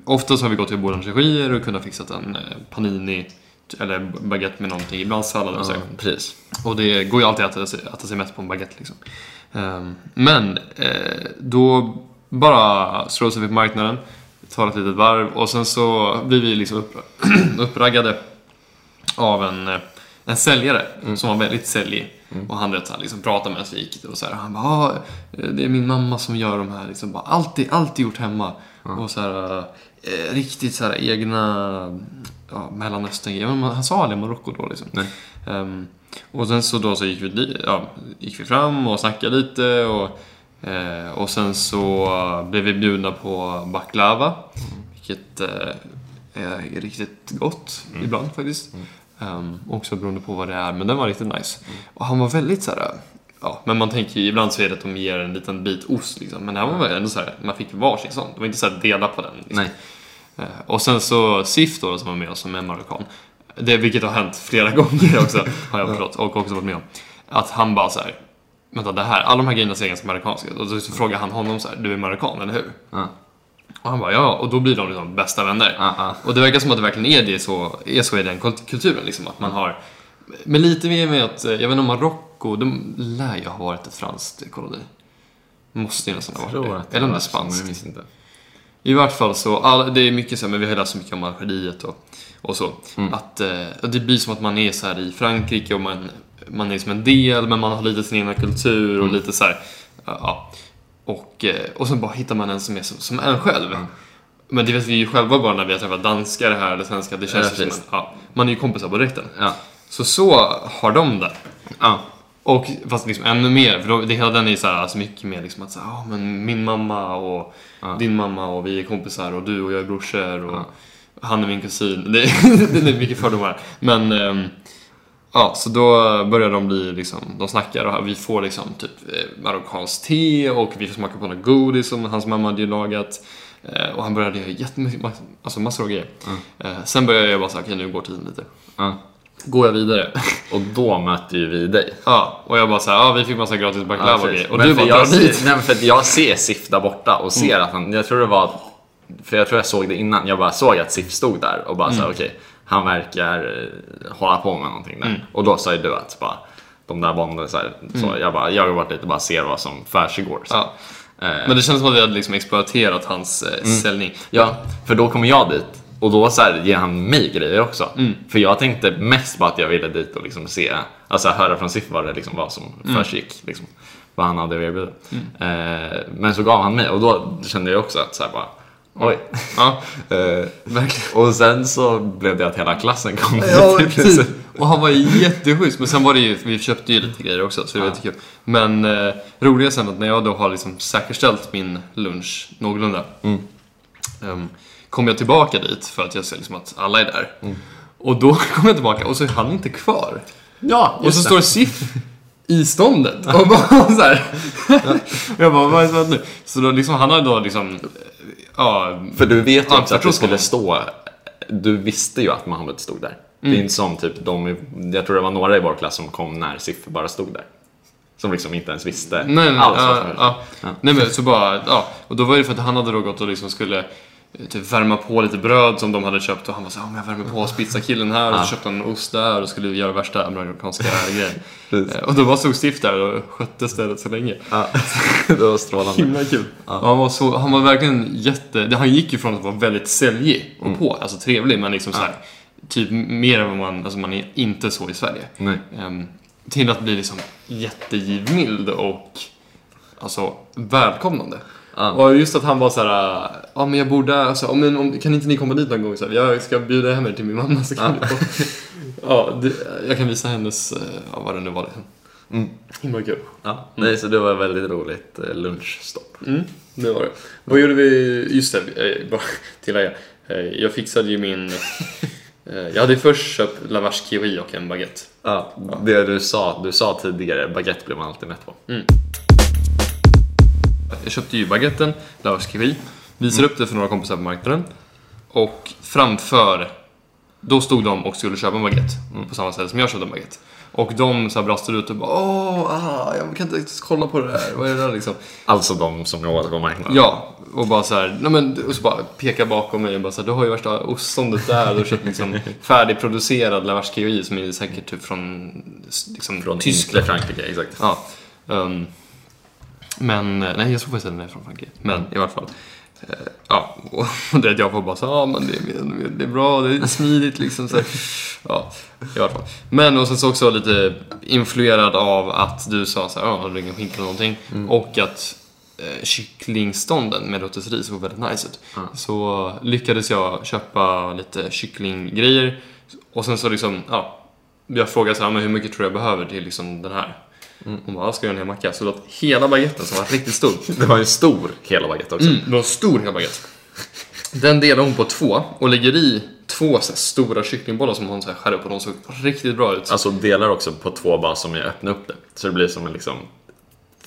[SPEAKER 1] oftast har vi gått till Borens Regier och kunnat fixat en eh, panini eller baguette med någonting, ibland sallad och så.
[SPEAKER 2] Precis.
[SPEAKER 1] Och det går ju alltid att äta sig, äta sig mätt på en baguette liksom. Ehm, men eh, då bara slår sig vid marknaden, tar ett litet varv och sen så blir vi liksom upp, [CLEARS THROAT] uppraggade av en, eh, en säljare som var väldigt säljig. Och han vet, så här, liksom, pratade med oss, vi gick och så här, han bara "Ah, det är min mamma som gör de här. Liksom, bara, alltid, alltid gjort hemma. Och så här, eh, riktigt så här, egna ja, mellanöstern Men man- Han sa aldrig Marocko då liksom.
[SPEAKER 2] Nej.
[SPEAKER 1] Ehm, och sen så då så gick vi, di- ja, gick vi fram och snackade lite och, eh, och sen så blev vi bjudna på baklava. Vilket eh, är riktigt gott ibland faktiskt. Ehm, också beroende på vad det är, men den var riktigt nice. Och han var väldigt så här. Ja, men man tänker ju ibland så är det att de ger en liten bit ost liksom. Men det här var ändå så här, man fick varsin sån. Det var inte så här dela på den. Liksom.
[SPEAKER 2] Nej.
[SPEAKER 1] Eh, Och sen så Sif då som var med oss som är marockan. Det, vilket har hänt flera [LAUGHS] gånger också har jag förstått och också varit med om. Att han bara så här. Vänta det här, alla de här grejerna ser ganska marockanska ut." Och så, så frågar han honom så här, du är marockan eller hur?
[SPEAKER 2] Ja.
[SPEAKER 1] Och han bara ja, och då blir de liksom bästa vänner.
[SPEAKER 2] Ja, ja.
[SPEAKER 1] Och det verkar som att det verkligen är, det så, är så i den kult- kulturen. Liksom, att man har, men lite mer med att, eh, jag vet inte om Marocko, de lär ju ha varit ett franskt koloni. Måste ju nästan ha varit det. Eller om det är
[SPEAKER 2] så, men
[SPEAKER 1] spanskt.
[SPEAKER 2] Jag minns inte.
[SPEAKER 1] I vart fall så, all, det är mycket så här, men vi har läst så mycket om Algeriet och, och så.
[SPEAKER 2] Mm.
[SPEAKER 1] Att eh, det blir som att man är så här i Frankrike och man, man är som en del, men man har lite sin egna kultur
[SPEAKER 2] Mm.
[SPEAKER 1] och lite så här, ja. Och, eh, och sen bara hittar man en som är som, som en själv.
[SPEAKER 2] Mm.
[SPEAKER 1] Men det vet vi ju själva bara när vi har träffat danskar här eller svenskar, det känns
[SPEAKER 2] Ja,
[SPEAKER 1] ju som en,
[SPEAKER 2] precis.
[SPEAKER 1] ja, man är ju kompisar på direkten.
[SPEAKER 2] Ja.
[SPEAKER 1] Så så har de det.
[SPEAKER 2] Ja.
[SPEAKER 1] Och fast liksom ännu mer, för då, det hela den är så här, så mycket mer liksom att så här, "Ah, men min mamma och
[SPEAKER 2] Ja.
[SPEAKER 1] din mamma och vi är kompisar och du och jag är brorsor och
[SPEAKER 2] Ja.
[SPEAKER 1] han är min kusin. [LAUGHS] Det, det är mycket fördomar. Men ehm, ja, så då börjar de bli liksom, de snackar och vi får liksom typ eh, marockanskt te och vi får smaka på något godis som hans mamma hade ju lagat. Eh, Och han började göra jättemycket, alltså massor av grejer. Eh, Sen började jag bara säga okej nu går tiden lite.
[SPEAKER 2] Ja.
[SPEAKER 1] Går jag vidare? [LAUGHS]
[SPEAKER 2] Och då möter ju vi dig.
[SPEAKER 1] Ja, och jag bara såhär, ja vi fick massa gratis baklava och grejer.
[SPEAKER 2] precis.
[SPEAKER 1] Och
[SPEAKER 2] Men
[SPEAKER 1] du
[SPEAKER 2] för
[SPEAKER 1] bara, dra
[SPEAKER 2] jag,
[SPEAKER 1] dit! Mm.
[SPEAKER 2] ser- nej, men för att jag ser Sif där borta och ser att han, jag tror det var, för jag tror jag såg det innan, jag bara såg att Sif stod där och bara mm. okej, han verkar eh, hålla på med någonting
[SPEAKER 1] Mm.
[SPEAKER 2] där. Och då sa ju du att bara, de där banden så, här, så jag bara, jag går bort dit och bara ser vad som försiggår. Så.
[SPEAKER 1] Ja.
[SPEAKER 2] Eh,
[SPEAKER 1] Men det känns som att vi hade liksom exploaterat hans
[SPEAKER 2] Mm.
[SPEAKER 1] eh, ställning.
[SPEAKER 2] Ja, för då kommer jag dit och då så här ger han mig grejer också. För jag tänkte mest på att jag ville dit och liksom se, alltså höra från Siff vad det liksom var som försiggick. Liksom, vad han hade att erbjuda. Eh, men så gav han mig och då kände jag också att så här bara, oj.
[SPEAKER 1] Ja,
[SPEAKER 2] Eh,
[SPEAKER 1] verkligen.
[SPEAKER 2] [LAUGHS] och sen så blev det att hela klassen kom dit. i princip. [LAUGHS]
[SPEAKER 1] precis. typ. Och han var ju jätteschysst. Men sen var det ju, vi köpte ju lite grejer också så det var
[SPEAKER 2] Ja.
[SPEAKER 1] jättekul. Men eh, roliga sen att när jag då har liksom säkerställt min lunch någorlunda.
[SPEAKER 2] Mm.
[SPEAKER 1] ehm, kom jag tillbaka dit för att jag ser liksom att alla är där.
[SPEAKER 2] Mm.
[SPEAKER 1] Och då [LAUGHS] kom jag tillbaka och så är han inte kvar.
[SPEAKER 2] Ja,
[SPEAKER 1] Och så står Sif i ståndet och bara [LAUGHS] så här. Och jag bara, vad är det som händer nu? Så då liksom, han har då liksom, eh, ja,
[SPEAKER 2] För du vet ju
[SPEAKER 1] Ja,
[SPEAKER 2] också att du
[SPEAKER 1] förstås
[SPEAKER 2] skulle
[SPEAKER 1] honom.
[SPEAKER 2] stå... Du visste ju att Mohammed stod där. Det är inte som typ de... i- Jag tror det var några i vår klass som kom när Sif bara stod där. Som liksom inte ens visste
[SPEAKER 1] nej, nej,
[SPEAKER 2] alls vad
[SPEAKER 1] ja,
[SPEAKER 2] som hände.
[SPEAKER 1] ja. nej men så bara, ja. Och då var det för att han hade då gått och liksom skulle eh, typ värma på lite bröd som de hade köpt och han var så här, om jag värmer på pizzakillen här och så köpte han en ost där och skulle göra värsta
[SPEAKER 2] [LAUGHS]
[SPEAKER 1] amerikanska grejen.
[SPEAKER 2] Precis.
[SPEAKER 1] Eh, Och då bara stod Sif där och skötte stället så länge.
[SPEAKER 2] Ja. [LAUGHS] det var strålande.
[SPEAKER 1] Himla kul. Och Han, var så, han var verkligen jätte... det- Han gick ju från att vara väldigt säljig
[SPEAKER 2] Mm.
[SPEAKER 1] och på, alltså trevlig, men liksom så här, typ mer än vad man, alltså man är inte så i Sverige.
[SPEAKER 2] Nej.
[SPEAKER 1] Ehm, till att bli liksom jättegivmild och alltså välkomnande.
[SPEAKER 2] Ja.
[SPEAKER 1] Och just att han var så här, äh, ja men jag borde, alltså, om, om, kan inte ni komma dit någon gång? Så här, jag ska bjuda hem er till min mamma så kan ni få. [LAUGHS] ja, det, jag kan visa hennes, eh, ja, vad det nu var liksom. Himla kul.
[SPEAKER 2] Ja. Nej, så det var ett väldigt roligt eh, lunchstopp.
[SPEAKER 1] Mm, det var det. Vad gjorde vi? Just det, eh, bara [LAUGHS] tillägga. Eh, Jag fixade ju [LAUGHS] min... eh, Jag hade först köpt lavash kiwi och en baguette.
[SPEAKER 2] Ja. Det du sa, du sa tidigare, baguette blir man alltid mätt på.
[SPEAKER 1] Jag köpte ju baguetten, lavash kiwi, visade upp det för några kompisar på marknaden. Och framför, då stod de och skulle köpa en baguette på samma sätt som jag köpte en baguette. Och de så här brast ut och bara åh, ah, jag kan inte ens kolla på det där, vad är det där liksom?
[SPEAKER 2] Alltså de som jag åt på marknaden.
[SPEAKER 1] Ja, och bara så här, nej men, och så bara peka bakom mig och bara så här, du har ju värsta ostståndet där, du har köpt liksom färdigproducerad Lavage kiwi som är säkert typ från, liksom, Tyskland.
[SPEAKER 2] Från Tyskland. Frankrike, exakt.
[SPEAKER 1] Ja. ehm, men, eh, nej jag såg faktiskt att den är från Frankrike, men i alla fall. eh, Ja, och [LAUGHS] det att jag får bara så ja men det är, det är bra, det är smidigt liksom. Så här. Ja, i alla fall. Men och sen så också lite influerad av att du sa så här, ja, har du ingen skinka eller någonting? Och att eh, kycklingstånden med rotisserie såg väldigt nice ut. Så lyckades jag köpa lite kycklinggrejer och sen så liksom, ja. Jag frågade så här, "Ah, men hur mycket tror jag behöver till liksom den här? Hon bara, "Ja, ska jag göra en hel macka? Så att hela baguetten som var riktigt stor,
[SPEAKER 2] Det var ju en stor hela baguette också.
[SPEAKER 1] det var en stor hel baguette. Mm. Den delar hon på två och lägger i två så här stora kycklingbollar som hon så här skär upp och de såg riktigt bra ut.
[SPEAKER 2] Alltså delar också på två bara som jag öppnar upp det. Så det blir som en liksom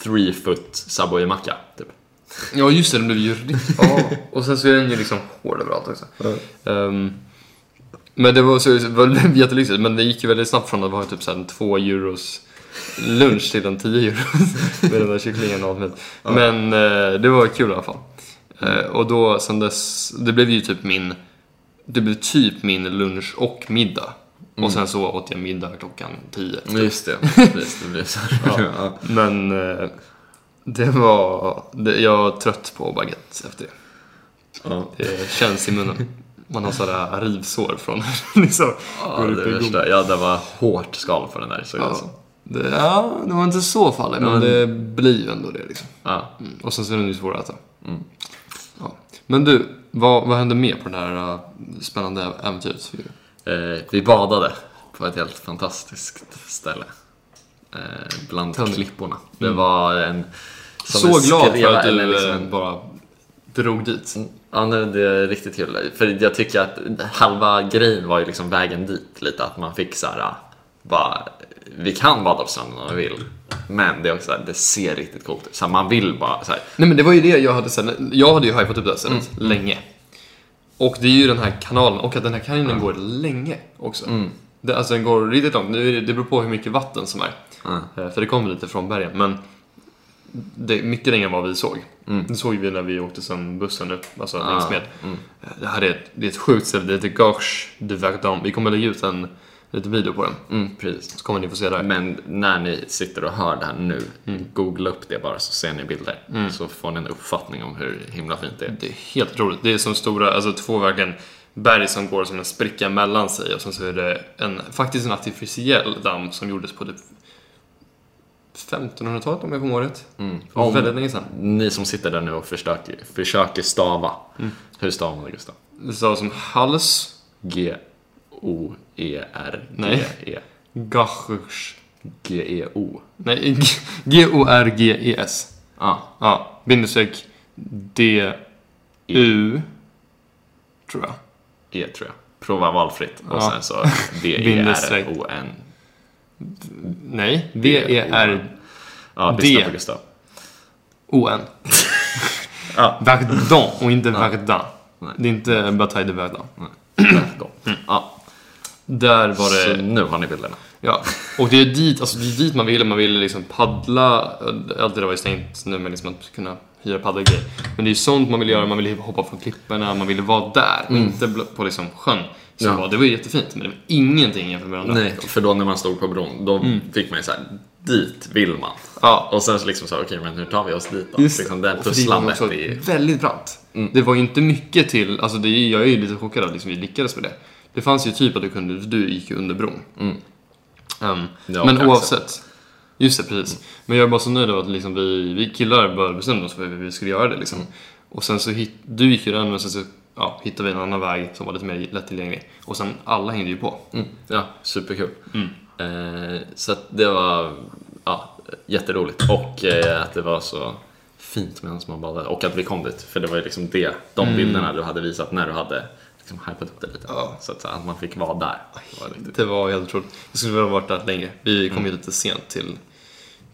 [SPEAKER 2] three foot Subway-macka. Typ.
[SPEAKER 1] Ja just det, den blev ju riktigt... Ja. Och sen så är den ju liksom hård överallt också. Ehm, men det var, så, det var [LAUGHS] jättelyxigt, men det gick ju väldigt snabbt från att vara typ så här en två euros lunch till en 10 euros [LAUGHS] med den där kycklingen och allt möjligt. Men eh, det var kul i alla fall. Eh, och då sen dess, det blev ju typ min, det blev typ min lunch och middag. Och sen så åt jag middag klockan 10.
[SPEAKER 2] Just det. [LAUGHS] Precis, det
[SPEAKER 1] [LAUGHS]
[SPEAKER 2] blir så här. Ja.
[SPEAKER 1] Men eh, det var, det, jag var trött på baguette efter det.
[SPEAKER 2] Ja.
[SPEAKER 1] Det känns i munnen. Man har sådana rivsår från [LAUGHS] liksom,
[SPEAKER 2] Ja,
[SPEAKER 1] går
[SPEAKER 2] det
[SPEAKER 1] upp i gom.
[SPEAKER 2] värsta. Ja, det var hårt skal på den där. Så
[SPEAKER 1] Ja. Det, ja, det var inte så farligt, men det blir ju ändå det. Liksom.
[SPEAKER 2] Ja.
[SPEAKER 1] Mm. Och sen så är den ju svår att äta. Ja. Men du, vad, vad hände mer på det här äh, spännande äventyret?
[SPEAKER 2] Eh, vi badade på ett helt fantastiskt ställe. Eh, bland
[SPEAKER 1] Tell me.
[SPEAKER 2] klipporna. Det var en... som
[SPEAKER 1] Mm. Så
[SPEAKER 2] en
[SPEAKER 1] glad för
[SPEAKER 2] skräva
[SPEAKER 1] att
[SPEAKER 2] eller
[SPEAKER 1] du
[SPEAKER 2] liksom
[SPEAKER 1] eh,
[SPEAKER 2] en-
[SPEAKER 1] bara drog dit.
[SPEAKER 2] Ja, nej, det är riktigt kul. För jag tycker att halva grejen var ju liksom vägen dit lite. Att man fick så här, ah, bara, vi kan bada på stranden om vi vill. Men det är också så här, det ser riktigt coolt ut. Så här, man vill bara så här,
[SPEAKER 1] Nej men det var ju det jag hade sen, jag hade ju hypat upp det här stället länge. Och det är ju den här kanalen, och att den här kanalen går länge också. Det, alltså den går riktigt långt, nu är det, det beror på hur mycket vatten som är. Eh, För det kommer lite från bergen, men det är mycket längre än vad vi såg. Det såg vi när vi åkte sen bussen upp, alltså
[SPEAKER 2] Ah,
[SPEAKER 1] längs med. Eh, Det här är ett, det är ett sjukt ställe, det heter Gorge du Verdun. Vi kommer lägga ut en liten video på den,
[SPEAKER 2] mm, precis.
[SPEAKER 1] så kommer ni få se det här.
[SPEAKER 2] Men när ni sitter och hör det här nu, googla upp det bara så ser ni bilder. Så får ni en uppfattning om hur himla fint det är.
[SPEAKER 1] Det är helt otroligt. Det är som stora, alltså två verkligen berg som går som en spricka mellan sig och sen så är det en, faktiskt en artificiell damm som gjordes på typ 1500-talet om jag kommer ihåg rätt.
[SPEAKER 2] Mm.
[SPEAKER 1] För
[SPEAKER 2] Om
[SPEAKER 1] Väldigt länge sedan.
[SPEAKER 2] ni som sitter där nu och försöker, försöker stava, hur stavar man det Gustav?
[SPEAKER 1] Det stavas som hals,
[SPEAKER 2] E [LAUGHS] G-O-E-R-G-E.
[SPEAKER 1] gachers.
[SPEAKER 2] G-E-O.
[SPEAKER 1] Nej, G- G-O-R-G-E-S.
[SPEAKER 2] Ja,
[SPEAKER 1] E Ja, bindestreck D-U, tror jag.
[SPEAKER 2] E tror jag. Prova valfritt och
[SPEAKER 1] Ja. [LAUGHS]
[SPEAKER 2] sen så E
[SPEAKER 1] Bindestreck.
[SPEAKER 2] D-E-R-O-N.
[SPEAKER 1] Nej, E V-E-R-O-N.
[SPEAKER 2] Ja,
[SPEAKER 1] D.
[SPEAKER 2] lyssna på Gustav. Ja.
[SPEAKER 1] Verdun och inte Verdun.
[SPEAKER 2] Nej.
[SPEAKER 1] Det är inte Bataille de Verdun.
[SPEAKER 2] Välkommen. Ja,
[SPEAKER 1] Där var det...
[SPEAKER 2] så nu har ni bilderna.
[SPEAKER 1] Ja, och det är dit, alltså det är dit man ville. Man ville liksom paddla. Allt det där var ju stängt nu, men liksom att kunna hyra paddelgrejer. Men det är ju sånt man vill göra. Man ville hoppa från klipporna, man ville vara där. och Inte bl- på liksom sjön. Så
[SPEAKER 2] Mm. Ja.
[SPEAKER 1] var, det var ju jättefint, men det var ingenting jämfört med det andra.
[SPEAKER 2] Nej, för då när man stod på bron, då fick man ju så här, dit vill man.
[SPEAKER 1] Mm. Ja.
[SPEAKER 2] Och sen så liksom så här, okej men hur tar vi oss dit då?
[SPEAKER 1] Just
[SPEAKER 2] liksom det här
[SPEAKER 1] och för det var
[SPEAKER 2] pusslandet
[SPEAKER 1] också
[SPEAKER 2] i...
[SPEAKER 1] väldigt brant. Det var ju inte mycket till, alltså det, är- jag är ju lite chockad att liksom vi lyckades med det. Det fanns ju typ att du kunde, du gick ju under bron. Ehm,
[SPEAKER 2] Mm. Ja,
[SPEAKER 1] men
[SPEAKER 2] kanske.
[SPEAKER 1] oavsett. Just det, precis. Men jag är bara så nöjd över att liksom vi, vi killar bara bestämde oss för hur vi skulle göra det. Liksom.
[SPEAKER 2] Mm.
[SPEAKER 1] Och sen så hit, du gick ju den och sen så ja, hittade vi en annan väg som var lite mer lättillgänglig. Och sen alla hängde ju på.
[SPEAKER 2] Mm, ja, superkul.
[SPEAKER 1] Mm.
[SPEAKER 2] Eh, så att det var ja, jätteroligt och eh, att det var så fint medan man badade och att vi kom dit. För det var ju liksom det, de bilderna du hade visat när du hade liksom hypat upp det lite.
[SPEAKER 1] Mm. Ja.
[SPEAKER 2] Så att, så att man fick vara där. Det var liksom riktigt-
[SPEAKER 1] Det Mm. var helt otroligt. Vi skulle väl ha varit där längre. Vi kom ju lite sent till,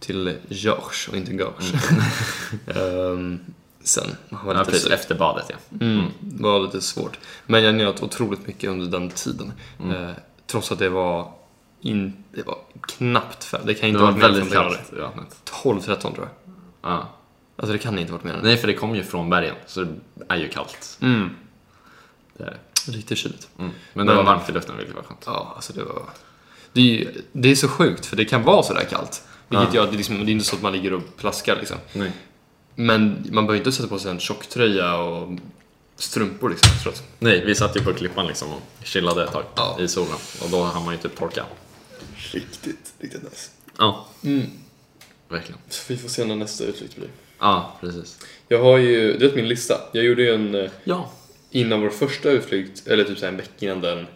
[SPEAKER 1] till Georges och inte Gorge. [LAUGHS] Ehm, sen. Man var
[SPEAKER 2] Ja,
[SPEAKER 1] lite
[SPEAKER 2] precis,
[SPEAKER 1] sur.
[SPEAKER 2] typ efter badet ja.
[SPEAKER 1] Mm, det var lite svårt. Men jag njöt otroligt mycket under den tiden. Eh, trots att det var, in, det var knappt fem. Det kan
[SPEAKER 2] Det
[SPEAKER 1] inte ha
[SPEAKER 2] var
[SPEAKER 1] varit mer än
[SPEAKER 2] väldigt
[SPEAKER 1] 15 grader.
[SPEAKER 2] kallt i vattnet.
[SPEAKER 1] 12-13 tror jag.
[SPEAKER 2] Ja.
[SPEAKER 1] Alltså det kan inte ha varit mer än det.
[SPEAKER 2] Nej, för det kom ju från bergen så det är ju kallt.
[SPEAKER 1] Mm,
[SPEAKER 2] Det är det.
[SPEAKER 1] riktigt kyligt.
[SPEAKER 2] Mm. Men det var
[SPEAKER 1] Men-
[SPEAKER 2] varmt i luften vilket var skönt.
[SPEAKER 1] Ja, alltså det var... Det är, ju, det är så sjukt, för det kan vara sådär kallt. Vilket
[SPEAKER 2] Ja.
[SPEAKER 1] gör att det, liksom, det är inte så att man ligger och plaskar liksom.
[SPEAKER 2] Nej.
[SPEAKER 1] Men man behöver inte sätta på sig en tjocktröja och strumpor liksom efteråt.
[SPEAKER 2] Nej, vi satt ju på klippan liksom och chillade ett tag
[SPEAKER 1] Ja.
[SPEAKER 2] i solen och då hann man ju typ torka.
[SPEAKER 1] Riktigt, riktigt nice.
[SPEAKER 2] Ja,
[SPEAKER 1] Mm.
[SPEAKER 2] verkligen.
[SPEAKER 1] Så vi får se när nästa utflykt blir.
[SPEAKER 2] Ja, precis.
[SPEAKER 1] Jag har ju, du vet min lista. Jag gjorde ju en eh,
[SPEAKER 2] Ja,
[SPEAKER 1] innan vår första utflykt, eller typ så här en vecka innan den.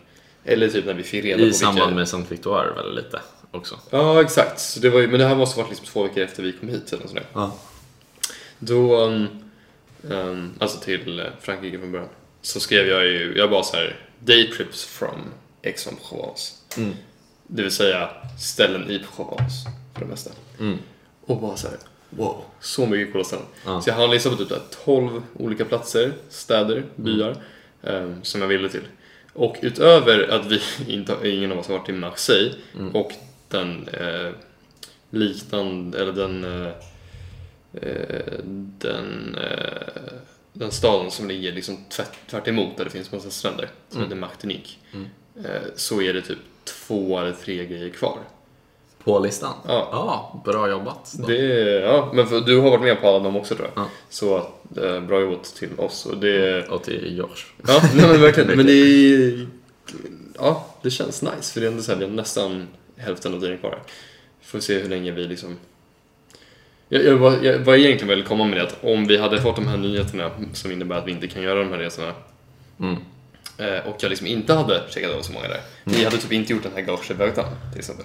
[SPEAKER 1] Eller typ när vi fick reda på
[SPEAKER 2] i samband
[SPEAKER 1] vilka...
[SPEAKER 2] med Saint Victoire väl lite också.
[SPEAKER 1] Ja, exakt. Så det var ju, men det här måste ha varit liksom två veckor efter vi kom hit eller nåt sånt där.
[SPEAKER 2] Ja.
[SPEAKER 1] Då, um, um, alltså till eh, Frankrike från början, så skrev jag ju, jag bara så här, day trips from Aix-en-Provence.
[SPEAKER 2] Mm.
[SPEAKER 1] Det vill säga ställen i Provence för det mesta.
[SPEAKER 2] Mm.
[SPEAKER 1] Och bara så här, wow, så mycket coola ställen.
[SPEAKER 2] Ja.
[SPEAKER 1] Så jag hann lista på typ så här 12 olika platser, städer,
[SPEAKER 2] Mm.
[SPEAKER 1] byar ehm, som jag ville till. Och utöver att vi [LAUGHS] inte, har- ingen av oss har varit i Marseille
[SPEAKER 2] Mm.
[SPEAKER 1] och den eh, liknande, eller den eh, eh, den, eh, den staden som ligger liksom tvärt, tvärt emot där det finns massa stränder, Mm. som heter Martinique, eh, så är det typ två eller tre grejer kvar.
[SPEAKER 2] På listan?
[SPEAKER 1] Ja.
[SPEAKER 2] bra jobbat.
[SPEAKER 1] Det, är- ja, men för, du har varit med på alla dem också tror jag.
[SPEAKER 2] Ja.
[SPEAKER 1] Så eh, bra jobbat till oss. Och det,
[SPEAKER 2] Och till Josh.
[SPEAKER 1] ja, nej, men [LAUGHS] verkligen. Men Mm. det, är- ja, det känns nice för det är ändå så här, det är nästan hälften av tiden kvar. här. Får se hur länge vi liksom... Jag, jag, vad jag, vad jag egentligen vill komma med är att om vi hade fått de här nyheterna som innebär att vi inte kan göra de här resorna
[SPEAKER 2] Mm.
[SPEAKER 1] Eh, och jag liksom inte hade checkat av så många där. Vi hade typ inte gjort den här gagevägtan till exempel.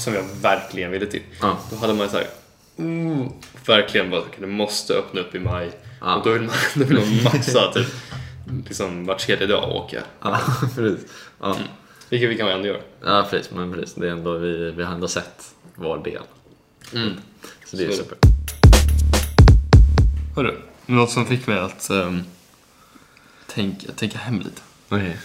[SPEAKER 1] Som jag verkligen ville till.
[SPEAKER 2] Ja.
[SPEAKER 1] Då hade man så här, mm, verkligen bara, okay, det måste öppna upp i maj.
[SPEAKER 2] Ja.
[SPEAKER 1] Och då vill man, [LAUGHS] då vill man maxa typ, liksom var tredje dag åka.
[SPEAKER 2] Ja, [LAUGHS] precis. Ja.
[SPEAKER 1] Vilket vi kan ändå göra.
[SPEAKER 2] Mm. ja, precis. Men precis. Det är ändå, vi, vi har ändå sett vår del. Så det är
[SPEAKER 1] Mm. Så är det.
[SPEAKER 2] super.
[SPEAKER 1] Hörru, något som fick mig att ehm, tänka, tänka hem lite.
[SPEAKER 2] Okej.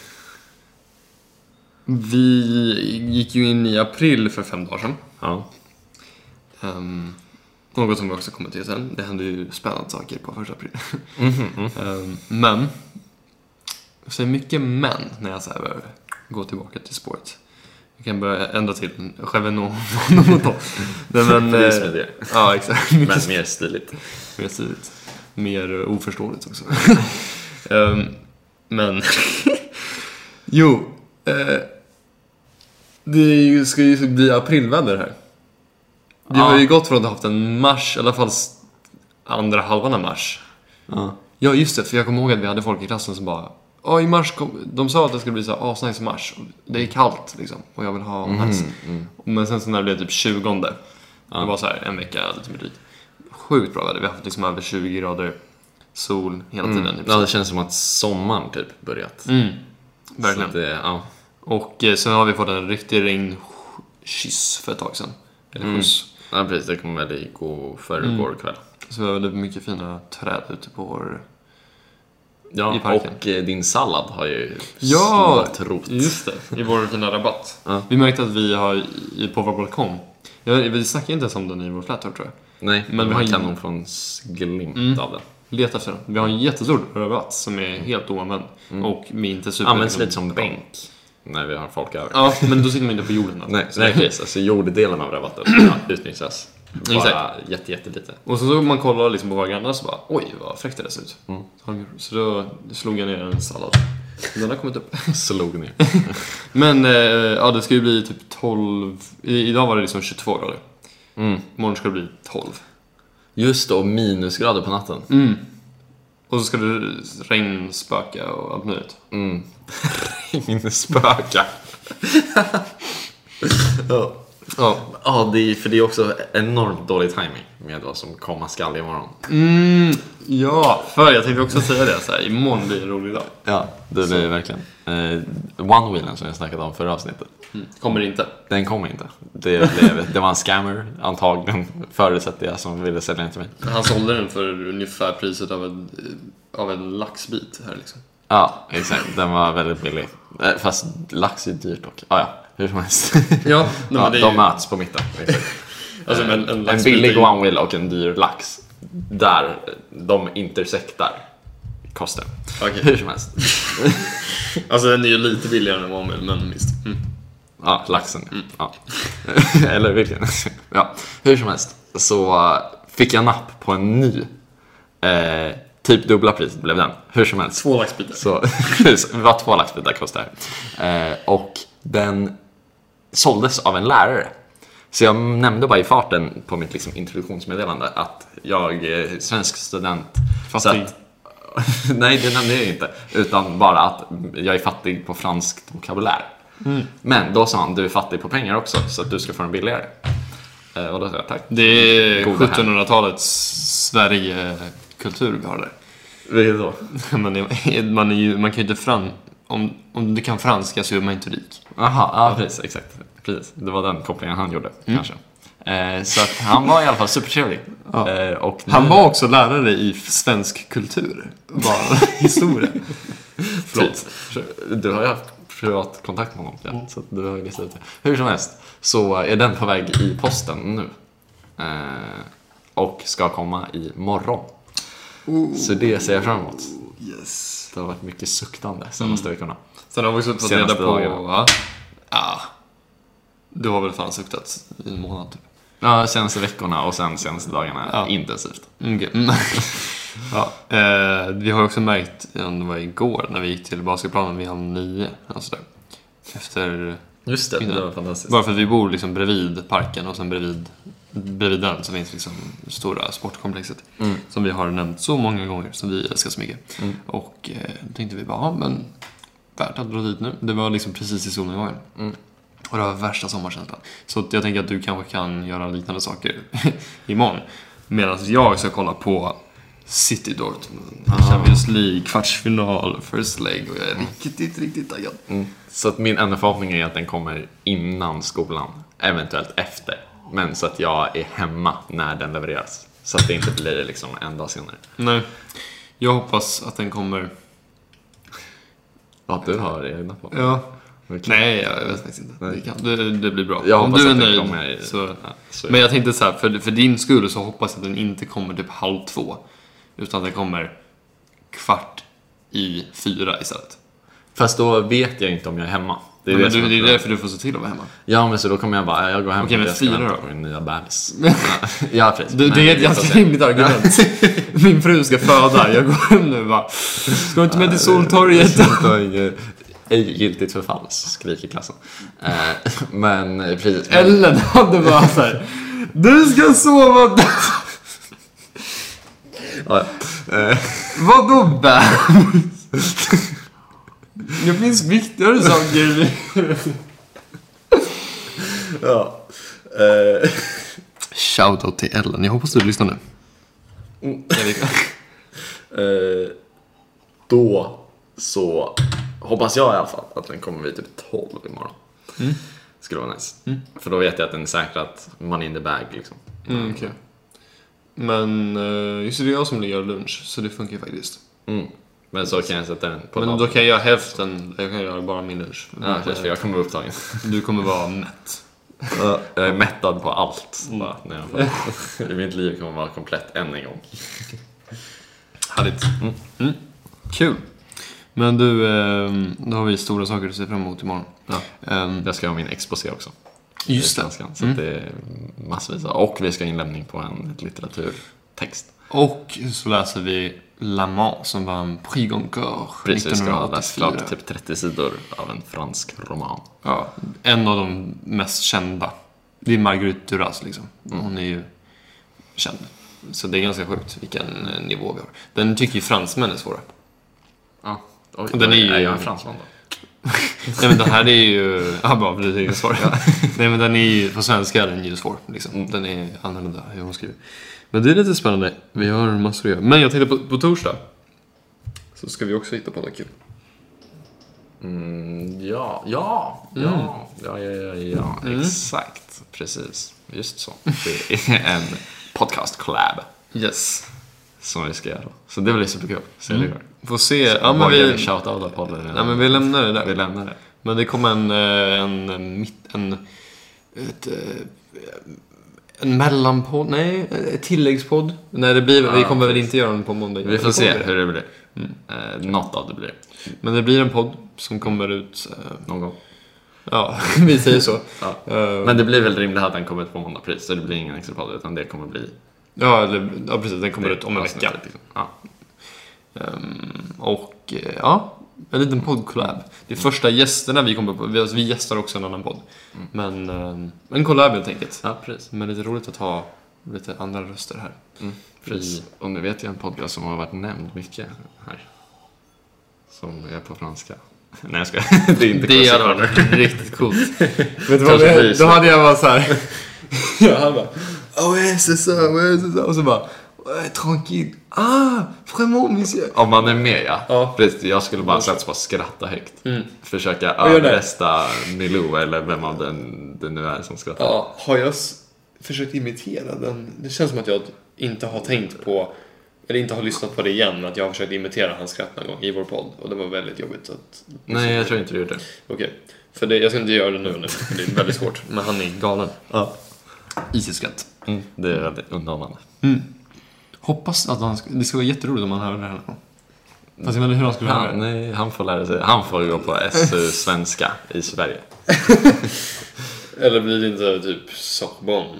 [SPEAKER 1] Vi gick ju in i april för fem dagar sedan.
[SPEAKER 2] Ja.
[SPEAKER 1] Ehm, något som vi också kommer till sen. Det hände ju spännande saker på första
[SPEAKER 2] [LAUGHS]
[SPEAKER 1] april.
[SPEAKER 2] Mhm,
[SPEAKER 1] Ehm, men. Så är mycket men när jag så här börjar gå tillbaka till spåret. Jag kan börja ändra till [LAUGHS]
[SPEAKER 2] [LAUGHS]
[SPEAKER 1] chevenon. Nej men.
[SPEAKER 2] Flis
[SPEAKER 1] eh,
[SPEAKER 2] med det.
[SPEAKER 1] Ja exakt. Mycket
[SPEAKER 2] [LAUGHS] Men mer stiligt.
[SPEAKER 1] mer stiligt. Mer eh, oförståeligt [LAUGHS] också. Ehm, men... [LAUGHS] jo. eh, det är ju, ska ju bli aprilväder här. Vi
[SPEAKER 2] Ja.
[SPEAKER 1] har ju gått från att ha haft en mars, i alla fall s- andra halvan av mars.
[SPEAKER 2] Ja.
[SPEAKER 1] Ja, just det. För jag kommer ihåg att vi hade folk i klassen som bara... Ja, i mars kom, De sa att det skulle bli så här asnice i mars. Det är kallt liksom. Och jag vill ha nice. Men sen så när det blev typ 20 Det var så här en vecka lite mer drygt. Sjukt bra väder. Vi har haft liksom över 20 grader sol hela
[SPEAKER 2] Mm.
[SPEAKER 1] tiden. Typ.
[SPEAKER 2] ja, det känns som att sommaren typ börjat.
[SPEAKER 1] Mm. Verkligen.
[SPEAKER 2] Så det, ja.
[SPEAKER 1] Och eh, sen har vi fått en riktig regnkyss för ett tag sedan. Eller skjuts.
[SPEAKER 2] ja, precis. Det kom väl igår, förrgår kväll.
[SPEAKER 1] Så vi har väldigt mycket fina träd ute på vår... I
[SPEAKER 2] Ja,
[SPEAKER 1] parken.
[SPEAKER 2] och eh, din sallad har ju
[SPEAKER 1] Ja, Mm.
[SPEAKER 2] slått rot.
[SPEAKER 1] Just det, i vår fina rabatt.
[SPEAKER 2] Ja.
[SPEAKER 1] Vi märkte att vi har i- på vår balkong, jag, vet- vi snackade inte ens om den i vår flat tror jag.
[SPEAKER 2] Nej,
[SPEAKER 1] Men Mm.
[SPEAKER 2] men
[SPEAKER 1] vi
[SPEAKER 2] man
[SPEAKER 1] har
[SPEAKER 2] kan
[SPEAKER 1] ju-
[SPEAKER 2] nog få en s- glimt av den.
[SPEAKER 1] Leta efter den. Vi har en jättestor rabatt som är helt oanvänd och med inte super...
[SPEAKER 2] Används
[SPEAKER 1] liksom-
[SPEAKER 2] lite som bänk när vi har folk över.
[SPEAKER 1] Ja, men då sitter man inte på jorden. Då.
[SPEAKER 2] Nej, nej precis. Alltså jorddelen av rabatten ja,
[SPEAKER 1] [CLEARS THROAT]
[SPEAKER 2] utnyttjas. Bara
[SPEAKER 1] Exakt.
[SPEAKER 2] jätte, jättelite.
[SPEAKER 1] Och sen så man kollar liksom på våra grannar så bara oj vad fräckt det där ser ut. Så har de gjort- Så då slog jag ner en sallad. Den har kommit upp.
[SPEAKER 2] Slog ner.
[SPEAKER 1] Men eh, ja, det ska ju bli typ 12... I, idag var det liksom 22 grader.
[SPEAKER 2] Mm.
[SPEAKER 1] Imorgon ska det bli 12.
[SPEAKER 2] Just då, minusgrader på natten.
[SPEAKER 1] Mm.
[SPEAKER 2] [LAUGHS]
[SPEAKER 1] Och så ska det regnspöka och allt möjligt.
[SPEAKER 2] Mm. Minusspöka. ja,
[SPEAKER 1] [LAUGHS] Ja.
[SPEAKER 2] Ja, det är, för det är också enormt dålig timing med vad som komma skall imorgon.
[SPEAKER 1] Mm, ja, för jag tänkte också säga det. Så här, imorgon blir en rolig dag.
[SPEAKER 2] Ja, det blir det verkligen. Eh, One-wheelen som jag snackade om förra avsnittet.
[SPEAKER 1] Kommer inte.
[SPEAKER 2] Den kom inte. Det, blev, det var en scammer, antagligen, förutsätter jag, som ville sälja den till mig.
[SPEAKER 1] Han sålde den för ungefär priset av en, av en laxbit här liksom.
[SPEAKER 2] Ja, exakt. Den var väldigt billig. Eh, Fast lax är dyrt dock. Ah, ja, hur som helst.
[SPEAKER 1] [LAUGHS] Ja, nej,
[SPEAKER 2] ja,
[SPEAKER 1] men
[SPEAKER 2] de
[SPEAKER 1] det är ju,
[SPEAKER 2] möts
[SPEAKER 1] [LAUGHS]
[SPEAKER 2] på mitten. Exakt.
[SPEAKER 1] alltså, men en,
[SPEAKER 2] en,
[SPEAKER 1] laxbit är
[SPEAKER 2] billig
[SPEAKER 1] ju-
[SPEAKER 2] one wheel och en dyr lax. Där de intersektar kostar.
[SPEAKER 1] Okej.
[SPEAKER 2] Hur som helst.
[SPEAKER 1] Alltså den är ju lite billigare än Wamel, men visst. Mm.
[SPEAKER 2] Ja, laxen. Ja. [LAUGHS] Eller vilken. Mm. ja. Hur som helst så eh, fick jag napp på en ny. Eh, typ dubbla priset blev den. Hur som helst.
[SPEAKER 1] Två laxbitar.
[SPEAKER 2] Så [LAUGHS] precis, det var två laxbitar kostar. Eh, och den såldes av en lärare. Så jag nämnde bara i farten på mitt liksom, introduktionsmeddelande att jag är svensk student.
[SPEAKER 1] Fattig.
[SPEAKER 2] Så att, [LAUGHS] nej, det nämnde jag inte. Utan bara att jag är fattig på franskt vokabulär. Mm. Men då sa han, du är fattig på pengar också, så att du ska få den billigare. Eh, och då sa jag tack.
[SPEAKER 1] Det är
[SPEAKER 2] Goda här.
[SPEAKER 1] 1700-talets Sverigekultur vi har där. [LAUGHS]
[SPEAKER 2] Vilket då?
[SPEAKER 1] Man, är, man, är ju, man kan ju inte fram... Om, om du kan franska så är man inte rik.
[SPEAKER 2] Jaha, ja Mm. precis, exakt. Precis. Det var den kopplingen han gjorde, kanske. Eh, så att han var i alla fall supertrevlig. Eh, och
[SPEAKER 1] Han
[SPEAKER 2] [LAUGHS] nu-
[SPEAKER 1] var också lärare i svensk kultur. Bara historia.
[SPEAKER 2] [LAUGHS] Typ.
[SPEAKER 1] Förlåt.
[SPEAKER 2] Du har ju haft privat kontakt med honom, ja, så att du har ju listat ut det. Hur som helst, så är den på väg i posten nu. Eh, och ska komma i morgon. Så det ser jag fram emot.
[SPEAKER 1] Yes.
[SPEAKER 2] Det har varit mycket Mm. suktande senaste veckorna.
[SPEAKER 1] Sen har vi också fått
[SPEAKER 2] Senaste
[SPEAKER 1] reda på...
[SPEAKER 2] dagarna.
[SPEAKER 1] Va? Ja. Du har väl fan suktat i en månad typ?
[SPEAKER 2] Ja, senaste veckorna och sen senaste dagarna
[SPEAKER 1] Ja.
[SPEAKER 2] intensivt.
[SPEAKER 1] Mm, mm. [LAUGHS] ja, eh, vi har ju också märkt, eh, om det var igår, när vi gick till basketplanen vid halv nio. Alltså där. Efter,
[SPEAKER 2] Just det,
[SPEAKER 1] det
[SPEAKER 2] det
[SPEAKER 1] var
[SPEAKER 2] var fantastiskt.
[SPEAKER 1] bara för att vi bor liksom bredvid parken och sen bredvid, bredvid den så finns liksom det stora sportkomplexet.
[SPEAKER 2] Mm.
[SPEAKER 1] Som vi har nämnt så många gånger, som vi älskar så mycket.
[SPEAKER 2] Mm.
[SPEAKER 1] Och eh, då tänkte vi bara, ja men värt att dra dit nu. Det var liksom precis i solnedgången.
[SPEAKER 2] Mm.
[SPEAKER 1] Och det var värsta sommarkänslan. Så att jag tänker att du kanske kan göra liknande saker [LAUGHS] imorgon. Medan jag ska kolla på City Dortmund,
[SPEAKER 2] Ah.
[SPEAKER 1] Champions League, kvartsfinal, first leg. Och jag är riktigt, riktigt taggad.
[SPEAKER 2] Mm. Så att min enda förhoppning är att den kommer innan skolan, eventuellt efter. Men så att jag är hemma när den levereras. Så att det inte blir liksom en dag senare.
[SPEAKER 1] Nej, jag hoppas att den kommer...
[SPEAKER 2] Vad du har egna på.
[SPEAKER 1] Ja.
[SPEAKER 2] Vilket-
[SPEAKER 1] Nej, jag vet faktiskt inte.
[SPEAKER 2] Nej.
[SPEAKER 1] Det, kan, det, det blir bra.
[SPEAKER 2] Jag
[SPEAKER 1] Om
[SPEAKER 2] hoppas
[SPEAKER 1] du är
[SPEAKER 2] att den
[SPEAKER 1] nöjd
[SPEAKER 2] kommer-
[SPEAKER 1] så...
[SPEAKER 2] Ja, så-
[SPEAKER 1] Men jag tänkte så här, för, för din skull så hoppas jag att den inte kommer typ halv två. Utan att den kommer kvart i fyra istället.
[SPEAKER 2] Fast då vet jag inte om jag är hemma. Det
[SPEAKER 1] men
[SPEAKER 2] som
[SPEAKER 1] du, det är
[SPEAKER 2] problemet.
[SPEAKER 1] därför du får se till att vara hemma.
[SPEAKER 2] Ja, men så då kommer jag bara, jag går hem
[SPEAKER 1] Okej, men
[SPEAKER 2] för jag ska
[SPEAKER 1] fyra
[SPEAKER 2] vänta
[SPEAKER 1] då?
[SPEAKER 2] på min
[SPEAKER 1] [LAUGHS]
[SPEAKER 2] nya bebis. Ja, ja, precis.
[SPEAKER 1] Du,
[SPEAKER 2] Men
[SPEAKER 1] det är ett
[SPEAKER 2] vi
[SPEAKER 1] ganska
[SPEAKER 2] får se.
[SPEAKER 1] rimligt
[SPEAKER 2] [LAUGHS]
[SPEAKER 1] argument. Min fru ska föda, jag går hem nu och bara. Ska du inte med till Soltorget?
[SPEAKER 2] Soltorget. Ej giltigt förfall, skriker klassen. Eh, [LAUGHS] Men eh, precis. Men,
[SPEAKER 1] Ellen hade bara såhär. Du ska sova där.
[SPEAKER 2] ja, eh,
[SPEAKER 1] Vadå bebis? Det finns viktigare saker.
[SPEAKER 2] ja. Eh,
[SPEAKER 1] Shoutout till Ellen, jag hoppas du lyssnar nu. Mm,
[SPEAKER 2] eh, Då så hoppas jag i alla fall att den kommer vid typ 12 imorgon.
[SPEAKER 1] Mm.
[SPEAKER 2] Skulle vara nice. För då vet jag att den är säkrat money in the bag liksom.
[SPEAKER 1] Mm, okej. Men eh, just det, det är jag som gör lunch, så det funkar ju faktiskt.
[SPEAKER 2] Mm. Men så kan jag sätta den på
[SPEAKER 1] Men
[SPEAKER 2] datorn.
[SPEAKER 1] då kan jag göra hälften, jag kan göra bara min lunch. Eh,
[SPEAKER 2] Ja, precis, för jag kommer vara upptagen.
[SPEAKER 1] Du kommer vara mätt.
[SPEAKER 2] [LAUGHS] Jag är mättad på allt.
[SPEAKER 1] Mm.
[SPEAKER 2] Bara, när jag
[SPEAKER 1] [LAUGHS]
[SPEAKER 2] får... Mitt liv kommer vara komplett än en gång.
[SPEAKER 1] Härligt. Mm. Kul. Men du, ehm, då har vi stora saker att se fram emot imorgon.
[SPEAKER 2] Ja.
[SPEAKER 1] Ehm,
[SPEAKER 2] Jag ska ha min exposé också.
[SPEAKER 1] Just det.
[SPEAKER 2] I
[SPEAKER 1] Mm.
[SPEAKER 2] svenskan, Så att det är massvis av. Och vi ska ha inlämning på en litteraturtext.
[SPEAKER 1] Och så läser vi Lama som vann Prix Goncourt
[SPEAKER 2] Precis, vi ska ha läst
[SPEAKER 1] 1984.
[SPEAKER 2] klart typ 30 sidor av en fransk roman.
[SPEAKER 1] Ja, en av de mest kända. Det är Marguerite Duras liksom. Hon är ju känd. Så det är ganska sjukt vilken eh, nivå vi har. Den tycker ju fransmän är svåra.
[SPEAKER 2] Ja.
[SPEAKER 1] Den är ju-
[SPEAKER 2] jag en fransman då?
[SPEAKER 1] Nej men den här är ju... [LAUGHS] Ja, bra, du tycker den är svår. Nej men den är ju... På svenska är den ju svår. Liksom. Den är annorlunda hur hon skriver. Men det är lite spännande. Vi har massor att göra. Men jag tänkte på, på torsdag. Så ska vi också hitta på något kul.
[SPEAKER 2] Mm, ja, ja,
[SPEAKER 1] Mm.
[SPEAKER 2] ja, ja, ja, ja, ja. exakt. Precis, just så. Det är en podcast collab
[SPEAKER 1] Yes.
[SPEAKER 2] som vi ska göra. Så det blir superkul. Se hur det går.
[SPEAKER 1] Får se. Mm. Ja men
[SPEAKER 2] Vågar vi
[SPEAKER 1] vi...
[SPEAKER 2] shoutouta podden?
[SPEAKER 1] Ja, men vi lämnar det där.
[SPEAKER 2] vi lämnar det.
[SPEAKER 1] Men det kom en, eh, en, en, mitt- en, ett, eh, en mellanpodd, nej, eh, ett tilläggspodd. Nej, det blir, vi
[SPEAKER 2] Ja,
[SPEAKER 1] kommer väl inte göra den på måndag.
[SPEAKER 2] Ah, Vi får
[SPEAKER 1] Det kommer
[SPEAKER 2] se
[SPEAKER 1] vi. Mm.
[SPEAKER 2] hur det blir. Eh, något av det blir
[SPEAKER 1] Men det blir en podd som kommer ut, eh,
[SPEAKER 2] någon gång.
[SPEAKER 1] ja, [LAUGHS] vi säger så.
[SPEAKER 2] Ja.
[SPEAKER 1] Eh,
[SPEAKER 2] Men det blir väl rimligt att den kommer ut på måndag pris, så det blir ingen extra podd utan det kommer bli...
[SPEAKER 1] ja, eller, ja, precis, den kommer ut om en vecka.
[SPEAKER 2] avsnittet, liksom. Ja.
[SPEAKER 1] Ehm, och eh, ja, en liten podd-collab. Det är första gästerna vi kommer på, vi, alltså, vi gästar också en annan podd. Men ehm, en collab helt enkelt.
[SPEAKER 2] ja, precis.
[SPEAKER 1] Men lite roligt att ha lite andra röster här.
[SPEAKER 2] precis. Och nu vet jag en podcast som har varit nämnd mycket här. Som är på franska. [LAUGHS] Nej jag skojar. [LAUGHS] Det är inte
[SPEAKER 1] Det hade
[SPEAKER 2] Corner.
[SPEAKER 1] varit riktigt [LAUGHS] coolt. Vet du
[SPEAKER 2] vad det är?
[SPEAKER 1] Då hade jag bara såhär...
[SPEAKER 2] [LAUGHS]
[SPEAKER 1] jag hade bara...
[SPEAKER 2] "Oh,
[SPEAKER 1] Ah ouais, c'est ça, ouais, c'est ça. Och så bara... Ouais, tranquille. Ah, vraiment monsieur.
[SPEAKER 2] Om man är med ja. Mm.
[SPEAKER 1] Ja.
[SPEAKER 2] Precis, jag skulle bara sätta på att skratta högt. Försöka
[SPEAKER 1] gör det.
[SPEAKER 2] överrösta Milou eller vem av den det nu är som skrattar.
[SPEAKER 1] Ja, har jag s- försökt imitera den? Det känns som att jag inte har tänkt på... Eller inte har lyssnat på det igen, men att jag har försökt imitera hans skratt någon gång i vår podd. Och det var väldigt jobbigt att...
[SPEAKER 2] Nej jag tror inte du gjorde det.
[SPEAKER 1] Okej. För det, jag ska inte göra det nu, nu, för det är väldigt svårt. [LAUGHS] Men han är galen.
[SPEAKER 2] Ja.
[SPEAKER 1] I sitt skratt.
[SPEAKER 2] Mm, det är väldigt underhållande.
[SPEAKER 1] Hoppas att han... Ska, det skulle vara jätteroligt om han hörde det här. Fast jag vet inte hur han skulle höra
[SPEAKER 2] Han,
[SPEAKER 1] det.
[SPEAKER 2] nej, han får lära sig. Han får gå på SU svenska i Sverige.
[SPEAKER 1] Eller blir det inte typ Sockbon?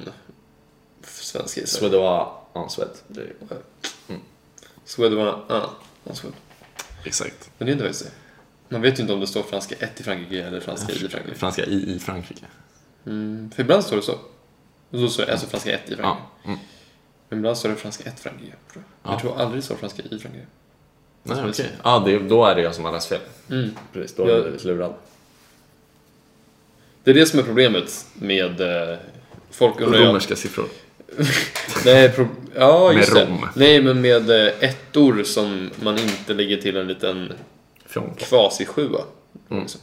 [SPEAKER 1] Svensk gissare.
[SPEAKER 2] Swedova Ansved.
[SPEAKER 1] Swedwa... Ja, ah, Swed.
[SPEAKER 2] Exakt.
[SPEAKER 1] Men det är inte faktiskt det. Man vet ju inte om det står franska 1 i Frankrike eller franska i Frankrike.
[SPEAKER 2] Franska i, i Frankrike.
[SPEAKER 1] Mm, för ibland står det så. Och då står det alltså franska 1 i Frankrike.
[SPEAKER 2] Ja. Mm.
[SPEAKER 1] Men ibland står det franska 1 Frankrike. Tror jag.
[SPEAKER 2] Ja.
[SPEAKER 1] jag tror aldrig det står franska i Frankrike.
[SPEAKER 2] Nej, okej. Ja, det, då är det jag som har läst fel.
[SPEAKER 1] Mm.
[SPEAKER 2] Precis, då har jag
[SPEAKER 1] Ja.
[SPEAKER 2] blivit lurad.
[SPEAKER 1] Det är det som är problemet med... Eh, folk undrar ju-
[SPEAKER 2] Romerska siffror.
[SPEAKER 1] [LAUGHS] Nej, pro- ja,
[SPEAKER 2] Med
[SPEAKER 1] just
[SPEAKER 2] rom.
[SPEAKER 1] det. Nej, men med eh, ettor som man inte lägger till en liten
[SPEAKER 2] Fjong.
[SPEAKER 1] kvasisjua.
[SPEAKER 2] Mm.
[SPEAKER 1] Liksom.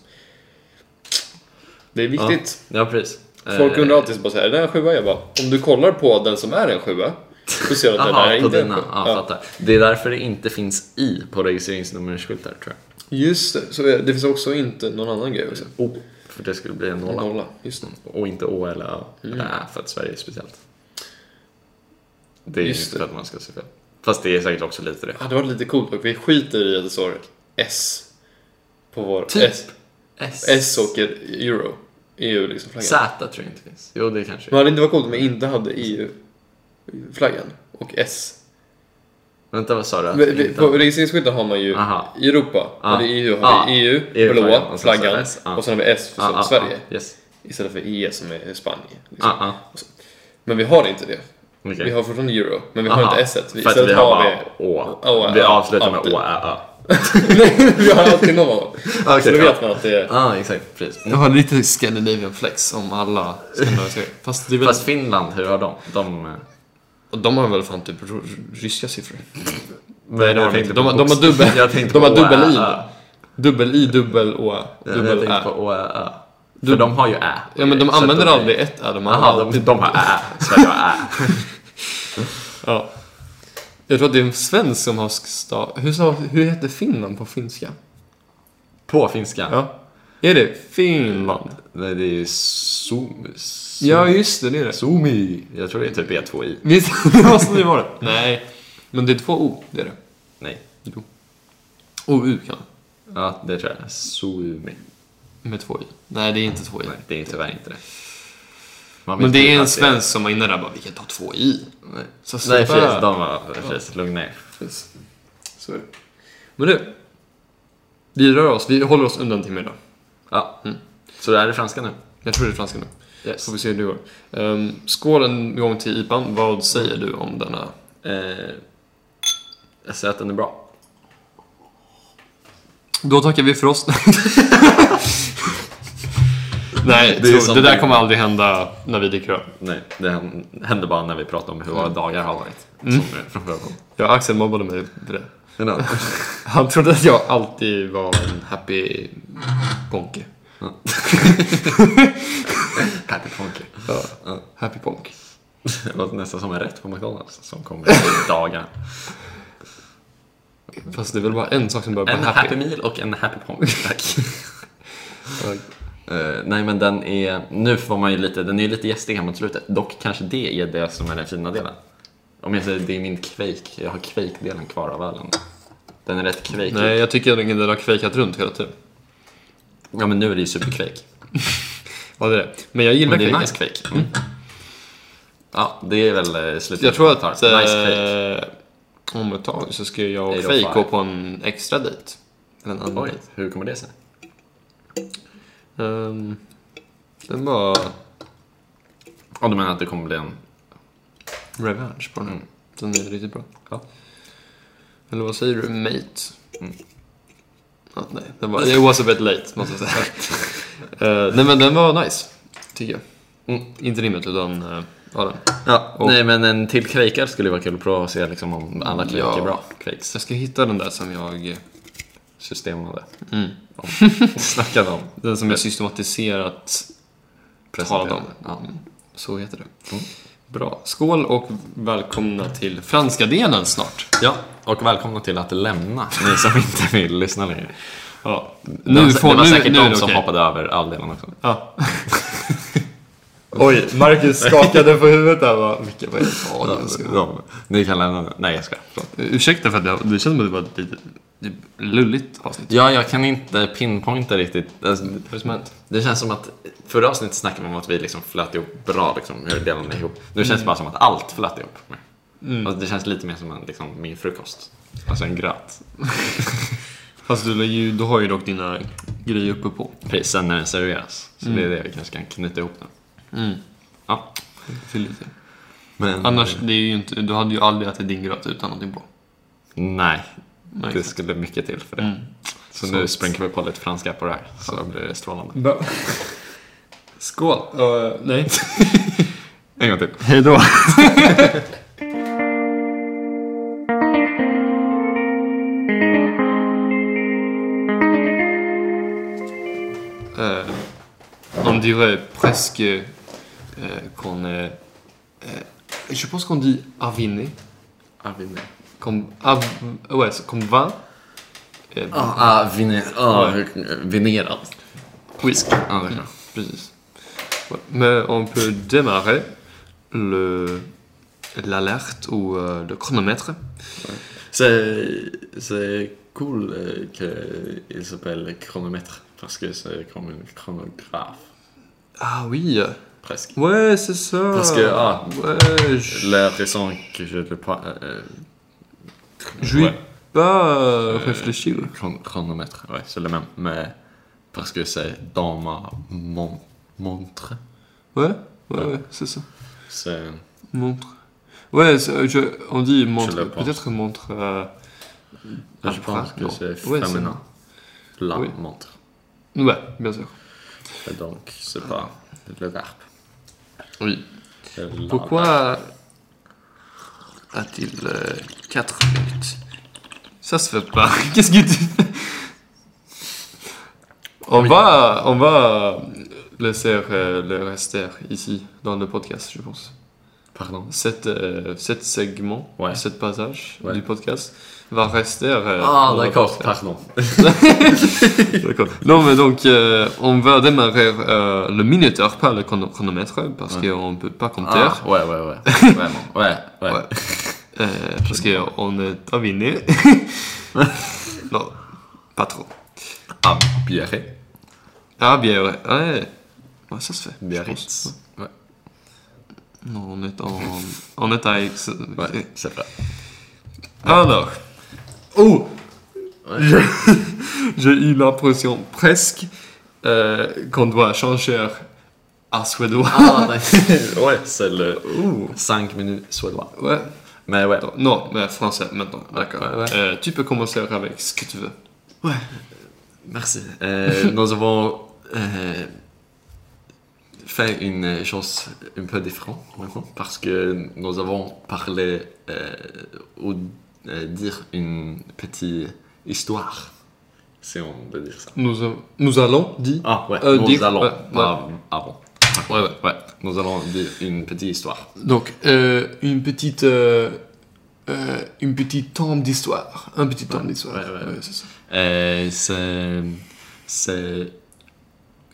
[SPEAKER 1] Det är viktigt.
[SPEAKER 2] Ja, precis.
[SPEAKER 1] Folk
[SPEAKER 2] Eh,
[SPEAKER 1] undrar alltid så bara så här, är det en sjua? Jag bara, om du kollar på den som är en sjua så ser du
[SPEAKER 2] [LAUGHS]
[SPEAKER 1] att den
[SPEAKER 2] Aha,
[SPEAKER 1] här
[SPEAKER 2] på
[SPEAKER 1] inte är en
[SPEAKER 2] dina.
[SPEAKER 1] sjua.
[SPEAKER 2] Ja, fattar. Det är därför det inte finns i på registreringsnummerskyltar, tror jag.
[SPEAKER 1] Just det, så är- det finns också inte någon annan grej också.
[SPEAKER 2] O, för det skulle bli en nolla.
[SPEAKER 1] Nolla, just det.
[SPEAKER 2] Och inte Å eller Ö.
[SPEAKER 1] Mm.
[SPEAKER 2] Nej, för att Sverige är speciellt. Det är ju
[SPEAKER 1] Just
[SPEAKER 2] inte
[SPEAKER 1] det.
[SPEAKER 2] för att man ska se fel. Fast det är säkert också lite det.
[SPEAKER 1] Det hade varit lite coolt dock, vi skiter i att det står S på vår...
[SPEAKER 2] Typ.
[SPEAKER 1] S, S och euro. EU liksom flaggan.
[SPEAKER 2] Z tror jag inte finns. Jo, det kanske
[SPEAKER 1] Men hade det inte varit coolt om jag inte hade EU-flaggan och S?
[SPEAKER 2] Vänta, vad sa du? Att
[SPEAKER 1] Men vi-
[SPEAKER 2] inte-
[SPEAKER 1] På registreringsskylten har man ju
[SPEAKER 2] Aha.
[SPEAKER 1] i Europa,
[SPEAKER 2] Ah.
[SPEAKER 1] ah. eller i EU har
[SPEAKER 2] Ah.
[SPEAKER 1] vi EU,
[SPEAKER 2] EU-flaggan,
[SPEAKER 1] blå,
[SPEAKER 2] och sen så
[SPEAKER 1] flaggan
[SPEAKER 2] S. Ah.
[SPEAKER 1] och sen har vi S för
[SPEAKER 2] Ah, ah,
[SPEAKER 1] Sverige.
[SPEAKER 2] ah, Yes.
[SPEAKER 1] Istället för E som är Spanien. Liksom.
[SPEAKER 2] Ah, ah.
[SPEAKER 1] Men vi har inte det.
[SPEAKER 2] Okej.
[SPEAKER 1] Vi har fortfarande euro, men vi har
[SPEAKER 2] Aha.
[SPEAKER 1] inte S. Vi,
[SPEAKER 2] För att vi
[SPEAKER 1] istället
[SPEAKER 2] har
[SPEAKER 1] har
[SPEAKER 2] bara Å.
[SPEAKER 1] Å,
[SPEAKER 2] Vi
[SPEAKER 1] Ö,
[SPEAKER 2] avslutar med
[SPEAKER 1] alltid.
[SPEAKER 2] Å, Ä, Ö.
[SPEAKER 1] Nej, vi [LAUGHS] har alltid någon av dem.
[SPEAKER 2] Okej,
[SPEAKER 1] Så då
[SPEAKER 2] ja.
[SPEAKER 1] vet man att det är...
[SPEAKER 2] Ja, Ah, exakt. Precis.
[SPEAKER 1] Jag har lite Scandinavian flex om alla
[SPEAKER 2] [LAUGHS]
[SPEAKER 1] skandinaviska Fast det är väl...
[SPEAKER 2] Mm. Fast Finland, hur har de? De... eh,
[SPEAKER 1] och de har väl fan typ r- ryska siffror.
[SPEAKER 2] Nej,
[SPEAKER 1] det har de inte. De har- de har
[SPEAKER 2] bokst- [LAUGHS]
[SPEAKER 1] dubbel-
[SPEAKER 2] jag tänkte
[SPEAKER 1] de
[SPEAKER 2] på
[SPEAKER 1] har dubbel
[SPEAKER 2] Å, Ä,
[SPEAKER 1] i.
[SPEAKER 2] Ö.
[SPEAKER 1] Dubbel I, dubbel Å,
[SPEAKER 2] Jag
[SPEAKER 1] dubbel
[SPEAKER 2] tänkte
[SPEAKER 1] Ä.
[SPEAKER 2] på Å, Ä, Ö. För de har ju Ä.
[SPEAKER 1] Ja men de
[SPEAKER 2] Så att
[SPEAKER 1] använder
[SPEAKER 2] de-
[SPEAKER 1] aldrig ett Ä, de använder
[SPEAKER 2] Jaha, de,
[SPEAKER 1] alltid...
[SPEAKER 2] de har Ä. Sverige har Ä.
[SPEAKER 1] Ja. Jag tror att det är en svensk som har stav... Hur, sa... Hur heter Finland på finska?
[SPEAKER 2] På finska?
[SPEAKER 1] Ja. Är det Finland?
[SPEAKER 2] Nej, det är ju Zoom. Zoom-
[SPEAKER 1] Ja, just det, det är det.
[SPEAKER 2] Zoomi. Jag tror det är typ E2i.
[SPEAKER 1] Visst, [LAUGHS] det måste det vara. Nej. Men det är två O, det är det.
[SPEAKER 2] Nej.
[SPEAKER 1] Jo. O, U kan
[SPEAKER 2] Ja, det tror jag. Zoomi.
[SPEAKER 1] Med två I. Nej, det är inte två I.
[SPEAKER 2] Nej, det är tyvärr inte det. Man
[SPEAKER 1] Men
[SPEAKER 2] vet
[SPEAKER 1] det
[SPEAKER 2] ju
[SPEAKER 1] är en
[SPEAKER 2] att
[SPEAKER 1] svensk som var inne där och bara, vi kan ta två I.
[SPEAKER 2] Nej,
[SPEAKER 1] Så
[SPEAKER 2] Nej
[SPEAKER 1] sluta.
[SPEAKER 2] precis. De var... Precis. Lugna er.
[SPEAKER 1] Precis. Så är det. Men du. Vi rör oss, vi håller oss undan till middag.
[SPEAKER 2] Ja.
[SPEAKER 1] Mm.
[SPEAKER 2] Så det här är franska nu?
[SPEAKER 1] Jag tror det är franska nu.
[SPEAKER 2] Yes.
[SPEAKER 1] Får vi se hur det går. Um, skål en gång till IPAn. Vad säger du om denna?
[SPEAKER 2] Eh, jag säger att den är bra.
[SPEAKER 1] Då tackar vi för oss. [LAUGHS] Nej,
[SPEAKER 2] Det är
[SPEAKER 1] det,
[SPEAKER 2] som
[SPEAKER 1] det där
[SPEAKER 2] det-
[SPEAKER 1] kommer aldrig hända när vi dricker öl.
[SPEAKER 2] Nej, det hän- händer bara när vi pratar om hur
[SPEAKER 1] Mm.
[SPEAKER 2] våra dagar har varit. Som är från
[SPEAKER 1] [LAUGHS]
[SPEAKER 2] början.
[SPEAKER 1] Ja, Axel mobbade mig för det. Han trodde att jag alltid var en happy ponke.
[SPEAKER 2] [LAUGHS] Happy Ponky.
[SPEAKER 1] Ja. Happy ponk.
[SPEAKER 2] Det låter nästan som en rätt på McDonalds
[SPEAKER 1] [LAUGHS]
[SPEAKER 2] som kommer i dagar.
[SPEAKER 1] Fast det är väl bara en sak som börjar på
[SPEAKER 2] En
[SPEAKER 1] happy.
[SPEAKER 2] happy meal och en happy ponk, [LAUGHS] tack.
[SPEAKER 1] Ja.
[SPEAKER 2] Eh, nej men den är, nu får man ju lite, den är ju lite gästig här mot slutet. Dock kanske det är det som är den fina delen. Om jag säger det är min quake, jag har quake-delen kvar av ölen. Den är rätt quake.
[SPEAKER 1] Nej, jag tycker att den har kvekat runt hela tiden.
[SPEAKER 2] Ja men nu är det ju super-quake.
[SPEAKER 1] Ja, det är det. Men jag gillar
[SPEAKER 2] Men det är
[SPEAKER 1] kvekat.
[SPEAKER 2] nice quake. Mm. Ja, det är väl eh, slutet.
[SPEAKER 1] Jag tror
[SPEAKER 2] på
[SPEAKER 1] att
[SPEAKER 2] tar. Nice quake.
[SPEAKER 1] eh, om ett tag så ska jag
[SPEAKER 2] Eight
[SPEAKER 1] och
[SPEAKER 2] oh
[SPEAKER 1] Frej
[SPEAKER 2] five.
[SPEAKER 1] gå på en extra dejt. Eller en annan
[SPEAKER 2] Oj,
[SPEAKER 1] dejt.
[SPEAKER 2] hur kommer det sig?
[SPEAKER 1] Ehm, den var
[SPEAKER 2] Ja, du menar att det kommer bli en...
[SPEAKER 1] revenge på den här.
[SPEAKER 2] Mm.
[SPEAKER 1] Den är riktigt bra.
[SPEAKER 2] Ja. Mm.
[SPEAKER 1] Eller vad säger du? Mate? Ja, nej, den
[SPEAKER 2] [LAUGHS]
[SPEAKER 1] var... It was a bit late, måste jag säga. Eh, nej, men den var nice, tycker jag.
[SPEAKER 2] Mm.
[SPEAKER 1] Inte rimmet, utan uh, ja, den.
[SPEAKER 2] Ja,
[SPEAKER 1] och-
[SPEAKER 2] nej men en till quakear skulle ju vara kul att prova och se liksom om alla quake
[SPEAKER 1] Ja.
[SPEAKER 2] är bra. Quakes.
[SPEAKER 1] Så jag ska hitta den där som jag...
[SPEAKER 2] Systemade.
[SPEAKER 1] Mm.
[SPEAKER 2] [LAUGHS] Snackade om.
[SPEAKER 1] Den som jag systematiserat
[SPEAKER 2] presenterade.
[SPEAKER 1] talat om.
[SPEAKER 2] Ja.
[SPEAKER 1] Så heter det.
[SPEAKER 2] Mm.
[SPEAKER 1] Bra. Skål och välkomna till franska delen snart.
[SPEAKER 2] Ja, och välkomna till att lämna, ni [LAUGHS] som inte vill lyssna längre.
[SPEAKER 1] Ja.
[SPEAKER 2] det var,
[SPEAKER 1] Nu får,
[SPEAKER 2] det var
[SPEAKER 1] nu,
[SPEAKER 2] säkert
[SPEAKER 1] nu är
[SPEAKER 2] någon
[SPEAKER 1] det
[SPEAKER 2] som
[SPEAKER 1] okej.
[SPEAKER 2] hoppade över all delen också.
[SPEAKER 1] Ja. Oj, Marcus skakade på huvudet där va. Micke, vad är det? Ja, det var så.
[SPEAKER 2] De, ni kan lämna den. Nej, jag ska.
[SPEAKER 1] Ursäkta för att jag, det känns som att det var ett litet lulligt avsnitt.
[SPEAKER 2] Ja, jag kan inte pinpointa riktigt. Alltså,
[SPEAKER 1] Vad är det som har hänt?
[SPEAKER 2] det känns som att förra avsnittet snackade man om att vi liksom flöt ihop bra, liksom, hur delarna ihop. Nu känns det bara som att allt flöt ihop. Alltså, det känns lite mer som en, liksom, min frukost. Alltså en gröt.
[SPEAKER 1] Fast du, lägger ju- du har ju dock dina grejer uppe på.
[SPEAKER 2] Precis, sen när den serveras. Så det är det vi kanske kan knyta ihop nu. Ja.
[SPEAKER 1] Till lite.
[SPEAKER 2] Men,
[SPEAKER 1] Mm. Annars, det är ju inte, du hade ju aldrig ätit din gröt utan någonting på.
[SPEAKER 2] Nej,
[SPEAKER 1] Nej,
[SPEAKER 2] det
[SPEAKER 1] exakt.
[SPEAKER 2] skulle mycket till för det.
[SPEAKER 1] Mm.
[SPEAKER 2] Så, nu spränker vi på lite franska på det här, så blir det strålande.
[SPEAKER 1] Skål! nej.
[SPEAKER 2] En gång till.
[SPEAKER 1] Hej då. euh, on dirait presque euh, qu'on est. euh, je pense qu'on dit aviné.
[SPEAKER 2] Aviner.
[SPEAKER 1] Comme, av, ouais, c'est comme vin. Euh,
[SPEAKER 2] Ah, viner.
[SPEAKER 1] Ja.
[SPEAKER 2] vinerad.
[SPEAKER 1] whisky.
[SPEAKER 2] Ja, det är klart.
[SPEAKER 1] Precis. Ouais. Mais on peut démarrer le l'alerte ou euh, le chronomètre.
[SPEAKER 2] C'est, c'est cool euh, que il s'appelle chronomètre parce que c'est comme un chronographe
[SPEAKER 1] Ah oui.
[SPEAKER 2] presque.
[SPEAKER 1] Ouais, c'est ça.
[SPEAKER 2] Parce que, ah.
[SPEAKER 1] ouais, je,
[SPEAKER 2] La raison que je le pas euh,
[SPEAKER 1] je lui ai
[SPEAKER 2] ouais,
[SPEAKER 1] pas euh,
[SPEAKER 2] Euh,
[SPEAKER 1] réfléchi. ouais.
[SPEAKER 2] chron- chronomètre, ouais, c'est le même, mais parce que c'est dans ma mon- montre.
[SPEAKER 1] Ouais, ouais,
[SPEAKER 2] Ouais.
[SPEAKER 1] ouais, c'est ça.
[SPEAKER 2] C'est
[SPEAKER 1] Montre. Ouais, c'est- euh, je- on dit montre.
[SPEAKER 2] le pense.
[SPEAKER 1] Peut-être montre. euh,
[SPEAKER 2] je
[SPEAKER 1] après,
[SPEAKER 2] pense que
[SPEAKER 1] non.
[SPEAKER 2] c'est
[SPEAKER 1] Ouais,
[SPEAKER 2] féminin. La
[SPEAKER 1] Oui.
[SPEAKER 2] montre.
[SPEAKER 1] Ouais, bien sûr.
[SPEAKER 2] Et donc c'est pas le verbe.
[SPEAKER 1] Oui.
[SPEAKER 2] c'est la verbe.
[SPEAKER 1] Pourquoi a-t-il 4 minutes Ça se fait pas. [LAUGHS] Qu'est-ce que tu fais on
[SPEAKER 2] Oui.
[SPEAKER 1] va, on va laisser euh, le rester ici dans le podcast, je pense.
[SPEAKER 2] Pardon.
[SPEAKER 1] Cet, euh, cet segment,
[SPEAKER 2] Ouais.
[SPEAKER 1] cet passage
[SPEAKER 2] Ouais.
[SPEAKER 1] du podcast va rester. euh,
[SPEAKER 2] Ah
[SPEAKER 1] dans le
[SPEAKER 2] d'accord,
[SPEAKER 1] podcast. [LAUGHS]
[SPEAKER 2] pardon.
[SPEAKER 1] D'accord. Non, mais donc, euh, on va démarrer euh, le minuteur, pas le chrono- chronomètre, parce
[SPEAKER 2] Ouais.
[SPEAKER 1] qu'on ne peut pas compter.
[SPEAKER 2] Ah, ouais, ouais,
[SPEAKER 1] [LAUGHS]
[SPEAKER 2] ouais. Vraiment. Ouais, ouais.
[SPEAKER 1] Ouais. [LAUGHS] Euh, parce qu'on est
[SPEAKER 2] [LAUGHS]
[SPEAKER 1] terminé. non, pas trop.
[SPEAKER 2] Ah, Biarritz.
[SPEAKER 1] Ah, bien, ouais. Ouais, Ouais, ça se fait. je pense.
[SPEAKER 2] Biarritz. Ouais,
[SPEAKER 1] Non, on est en. On est à. Aix.
[SPEAKER 2] ouais, c'est vrai.
[SPEAKER 1] Alors. Oh Je- [LAUGHS] J'ai eu l'impression presque euh, qu'on doit changer à suédois. [LAUGHS]
[SPEAKER 2] Ah, [LAUGHS] ouais, c'est le 5 minutes suédois.
[SPEAKER 1] Ouais.
[SPEAKER 2] Mais ouais.
[SPEAKER 1] Attends, Non, mais français maintenant. D'accord.
[SPEAKER 2] Ouais, ouais.
[SPEAKER 1] Euh, tu peux commencer avec ce que tu veux.
[SPEAKER 2] Merci. Euh, nous avons euh, fait une chose un peu différente maintenant, parce que nous avons parlé euh, ou euh, dire une petite histoire, si on peut dire ça.
[SPEAKER 1] Nous, euh, nous allons dire.
[SPEAKER 2] Ah ouais,
[SPEAKER 1] Euh,
[SPEAKER 2] nous
[SPEAKER 1] dire-
[SPEAKER 2] allons.
[SPEAKER 1] ouais,
[SPEAKER 2] Ah, ah bon. Ouais, ouais, ouais. Nous allons dire une petite histoire.
[SPEAKER 1] Donc, euh, une petite. Euh, euh, une petite tombe d'histoire. Un petit tombe d'histoire.
[SPEAKER 2] ouais, ouais, ouais.
[SPEAKER 1] c'est ça.
[SPEAKER 2] Euh, c'est c'est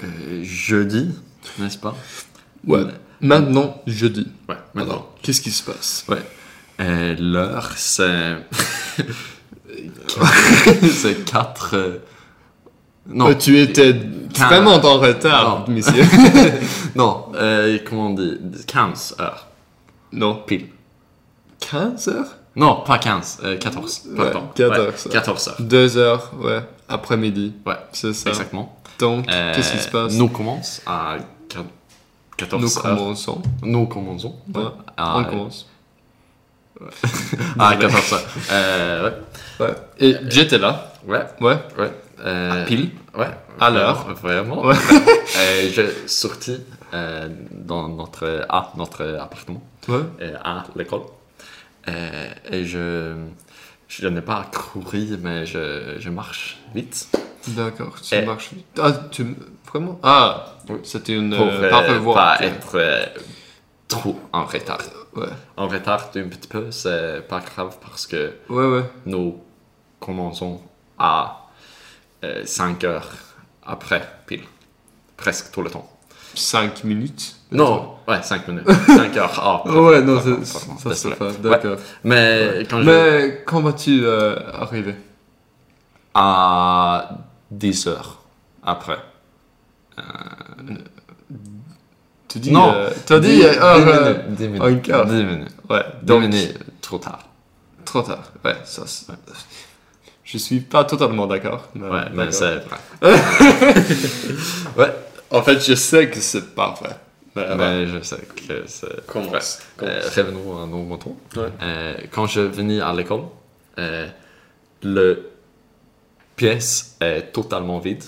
[SPEAKER 2] euh, jeudi, n'est-ce pas
[SPEAKER 1] Ouais. Maintenant, jeudi.
[SPEAKER 2] Ouais,
[SPEAKER 1] Alors, qu'est-ce qui se passe
[SPEAKER 2] Ouais. Euh, L'heure,
[SPEAKER 1] [LAUGHS]
[SPEAKER 2] c'est. c'est 4. Non,
[SPEAKER 1] Euh, Tu étais vraiment en retard,
[SPEAKER 2] Non. [LAUGHS]
[SPEAKER 1] monsieur.
[SPEAKER 2] non euh, comment on dit 15 heures.
[SPEAKER 1] non.
[SPEAKER 2] Pile.
[SPEAKER 1] 15 heures
[SPEAKER 2] Non, pas 15, euh, 14. Pardon.
[SPEAKER 1] Ouais, 14 heures.
[SPEAKER 2] 14 heures.
[SPEAKER 1] 2 heures, ouais. Après-midi.
[SPEAKER 2] Ouais,
[SPEAKER 1] C'est ça.
[SPEAKER 2] exactement.
[SPEAKER 1] Donc,
[SPEAKER 2] Euh,
[SPEAKER 1] qu'est-ce qui se passe
[SPEAKER 2] Nous commençons à 4 14
[SPEAKER 1] Nous
[SPEAKER 2] heures.
[SPEAKER 1] commençons.
[SPEAKER 2] Nous commençons.
[SPEAKER 1] Ouais.
[SPEAKER 2] À,
[SPEAKER 1] On commence.
[SPEAKER 2] à 14 Ah, heures. Euh,
[SPEAKER 1] Ouais. Et j'étais là.
[SPEAKER 2] ouais. Ouais.
[SPEAKER 1] Ouais.
[SPEAKER 2] ouais. Euh,
[SPEAKER 1] Pile.
[SPEAKER 2] Ouais.
[SPEAKER 1] À l'heure.
[SPEAKER 2] Vraiment.
[SPEAKER 1] Ouais.
[SPEAKER 2] [LAUGHS] Euh, je sortis euh, dans notre, à notre appartement,
[SPEAKER 1] Ouais.
[SPEAKER 2] euh, à l'école. Euh, et je, je n'ai pas couru, mais je, je marche vite.
[SPEAKER 1] D'accord. Tu
[SPEAKER 2] Eh.
[SPEAKER 1] marches. Ah, tu. Vraiment Ah
[SPEAKER 2] Oui.
[SPEAKER 1] C'était une.
[SPEAKER 2] Pour
[SPEAKER 1] euh,
[SPEAKER 2] euh,
[SPEAKER 1] parvoire.
[SPEAKER 2] pas être euh, trop en retard.
[SPEAKER 1] Ouais.
[SPEAKER 2] En retard un petit peu, c'est pas grave parce que
[SPEAKER 1] Ouais, ouais.
[SPEAKER 2] nous commençons à 5 heures après pile. Presque tout le temps.
[SPEAKER 1] 5 minutes.
[SPEAKER 2] Non, ouais, 5 minutes.
[SPEAKER 1] [LAUGHS]
[SPEAKER 2] 5 heures. Ah, pardon,
[SPEAKER 1] Ouais, non,
[SPEAKER 2] pardon,
[SPEAKER 1] c'est-
[SPEAKER 2] pardon,
[SPEAKER 1] ça se
[SPEAKER 2] désolé.
[SPEAKER 1] fait. D'accord.
[SPEAKER 2] Mais quand je...
[SPEAKER 1] Mais quand vas-tu euh, arriver
[SPEAKER 2] à 10 heures après.
[SPEAKER 1] Tu dis,
[SPEAKER 2] Non,
[SPEAKER 1] eh, tu as dit eh, över...
[SPEAKER 2] minutes. 10
[SPEAKER 1] en en kvart.
[SPEAKER 2] minutes.
[SPEAKER 1] Ouais,
[SPEAKER 2] Donc,
[SPEAKER 1] Ah, donc,
[SPEAKER 2] trop tard.
[SPEAKER 1] trop tard. Ouais, ça... ça- Je suis pas totalement d'accord. mais-
[SPEAKER 2] Ouais, mais
[SPEAKER 1] d'accord.
[SPEAKER 2] c'est
[SPEAKER 1] [LAUGHS]
[SPEAKER 2] vrai. ouais,
[SPEAKER 1] En fait, je sais que c'est pas vrai. Mais, ouais.
[SPEAKER 2] mais je sais que c'est...
[SPEAKER 1] Commence.
[SPEAKER 2] Euh,
[SPEAKER 1] Commence.
[SPEAKER 2] revenons à nos moutons.
[SPEAKER 1] Ouais.
[SPEAKER 2] Euh, quand je venais à l'école, euh, le pièce est totalement vide.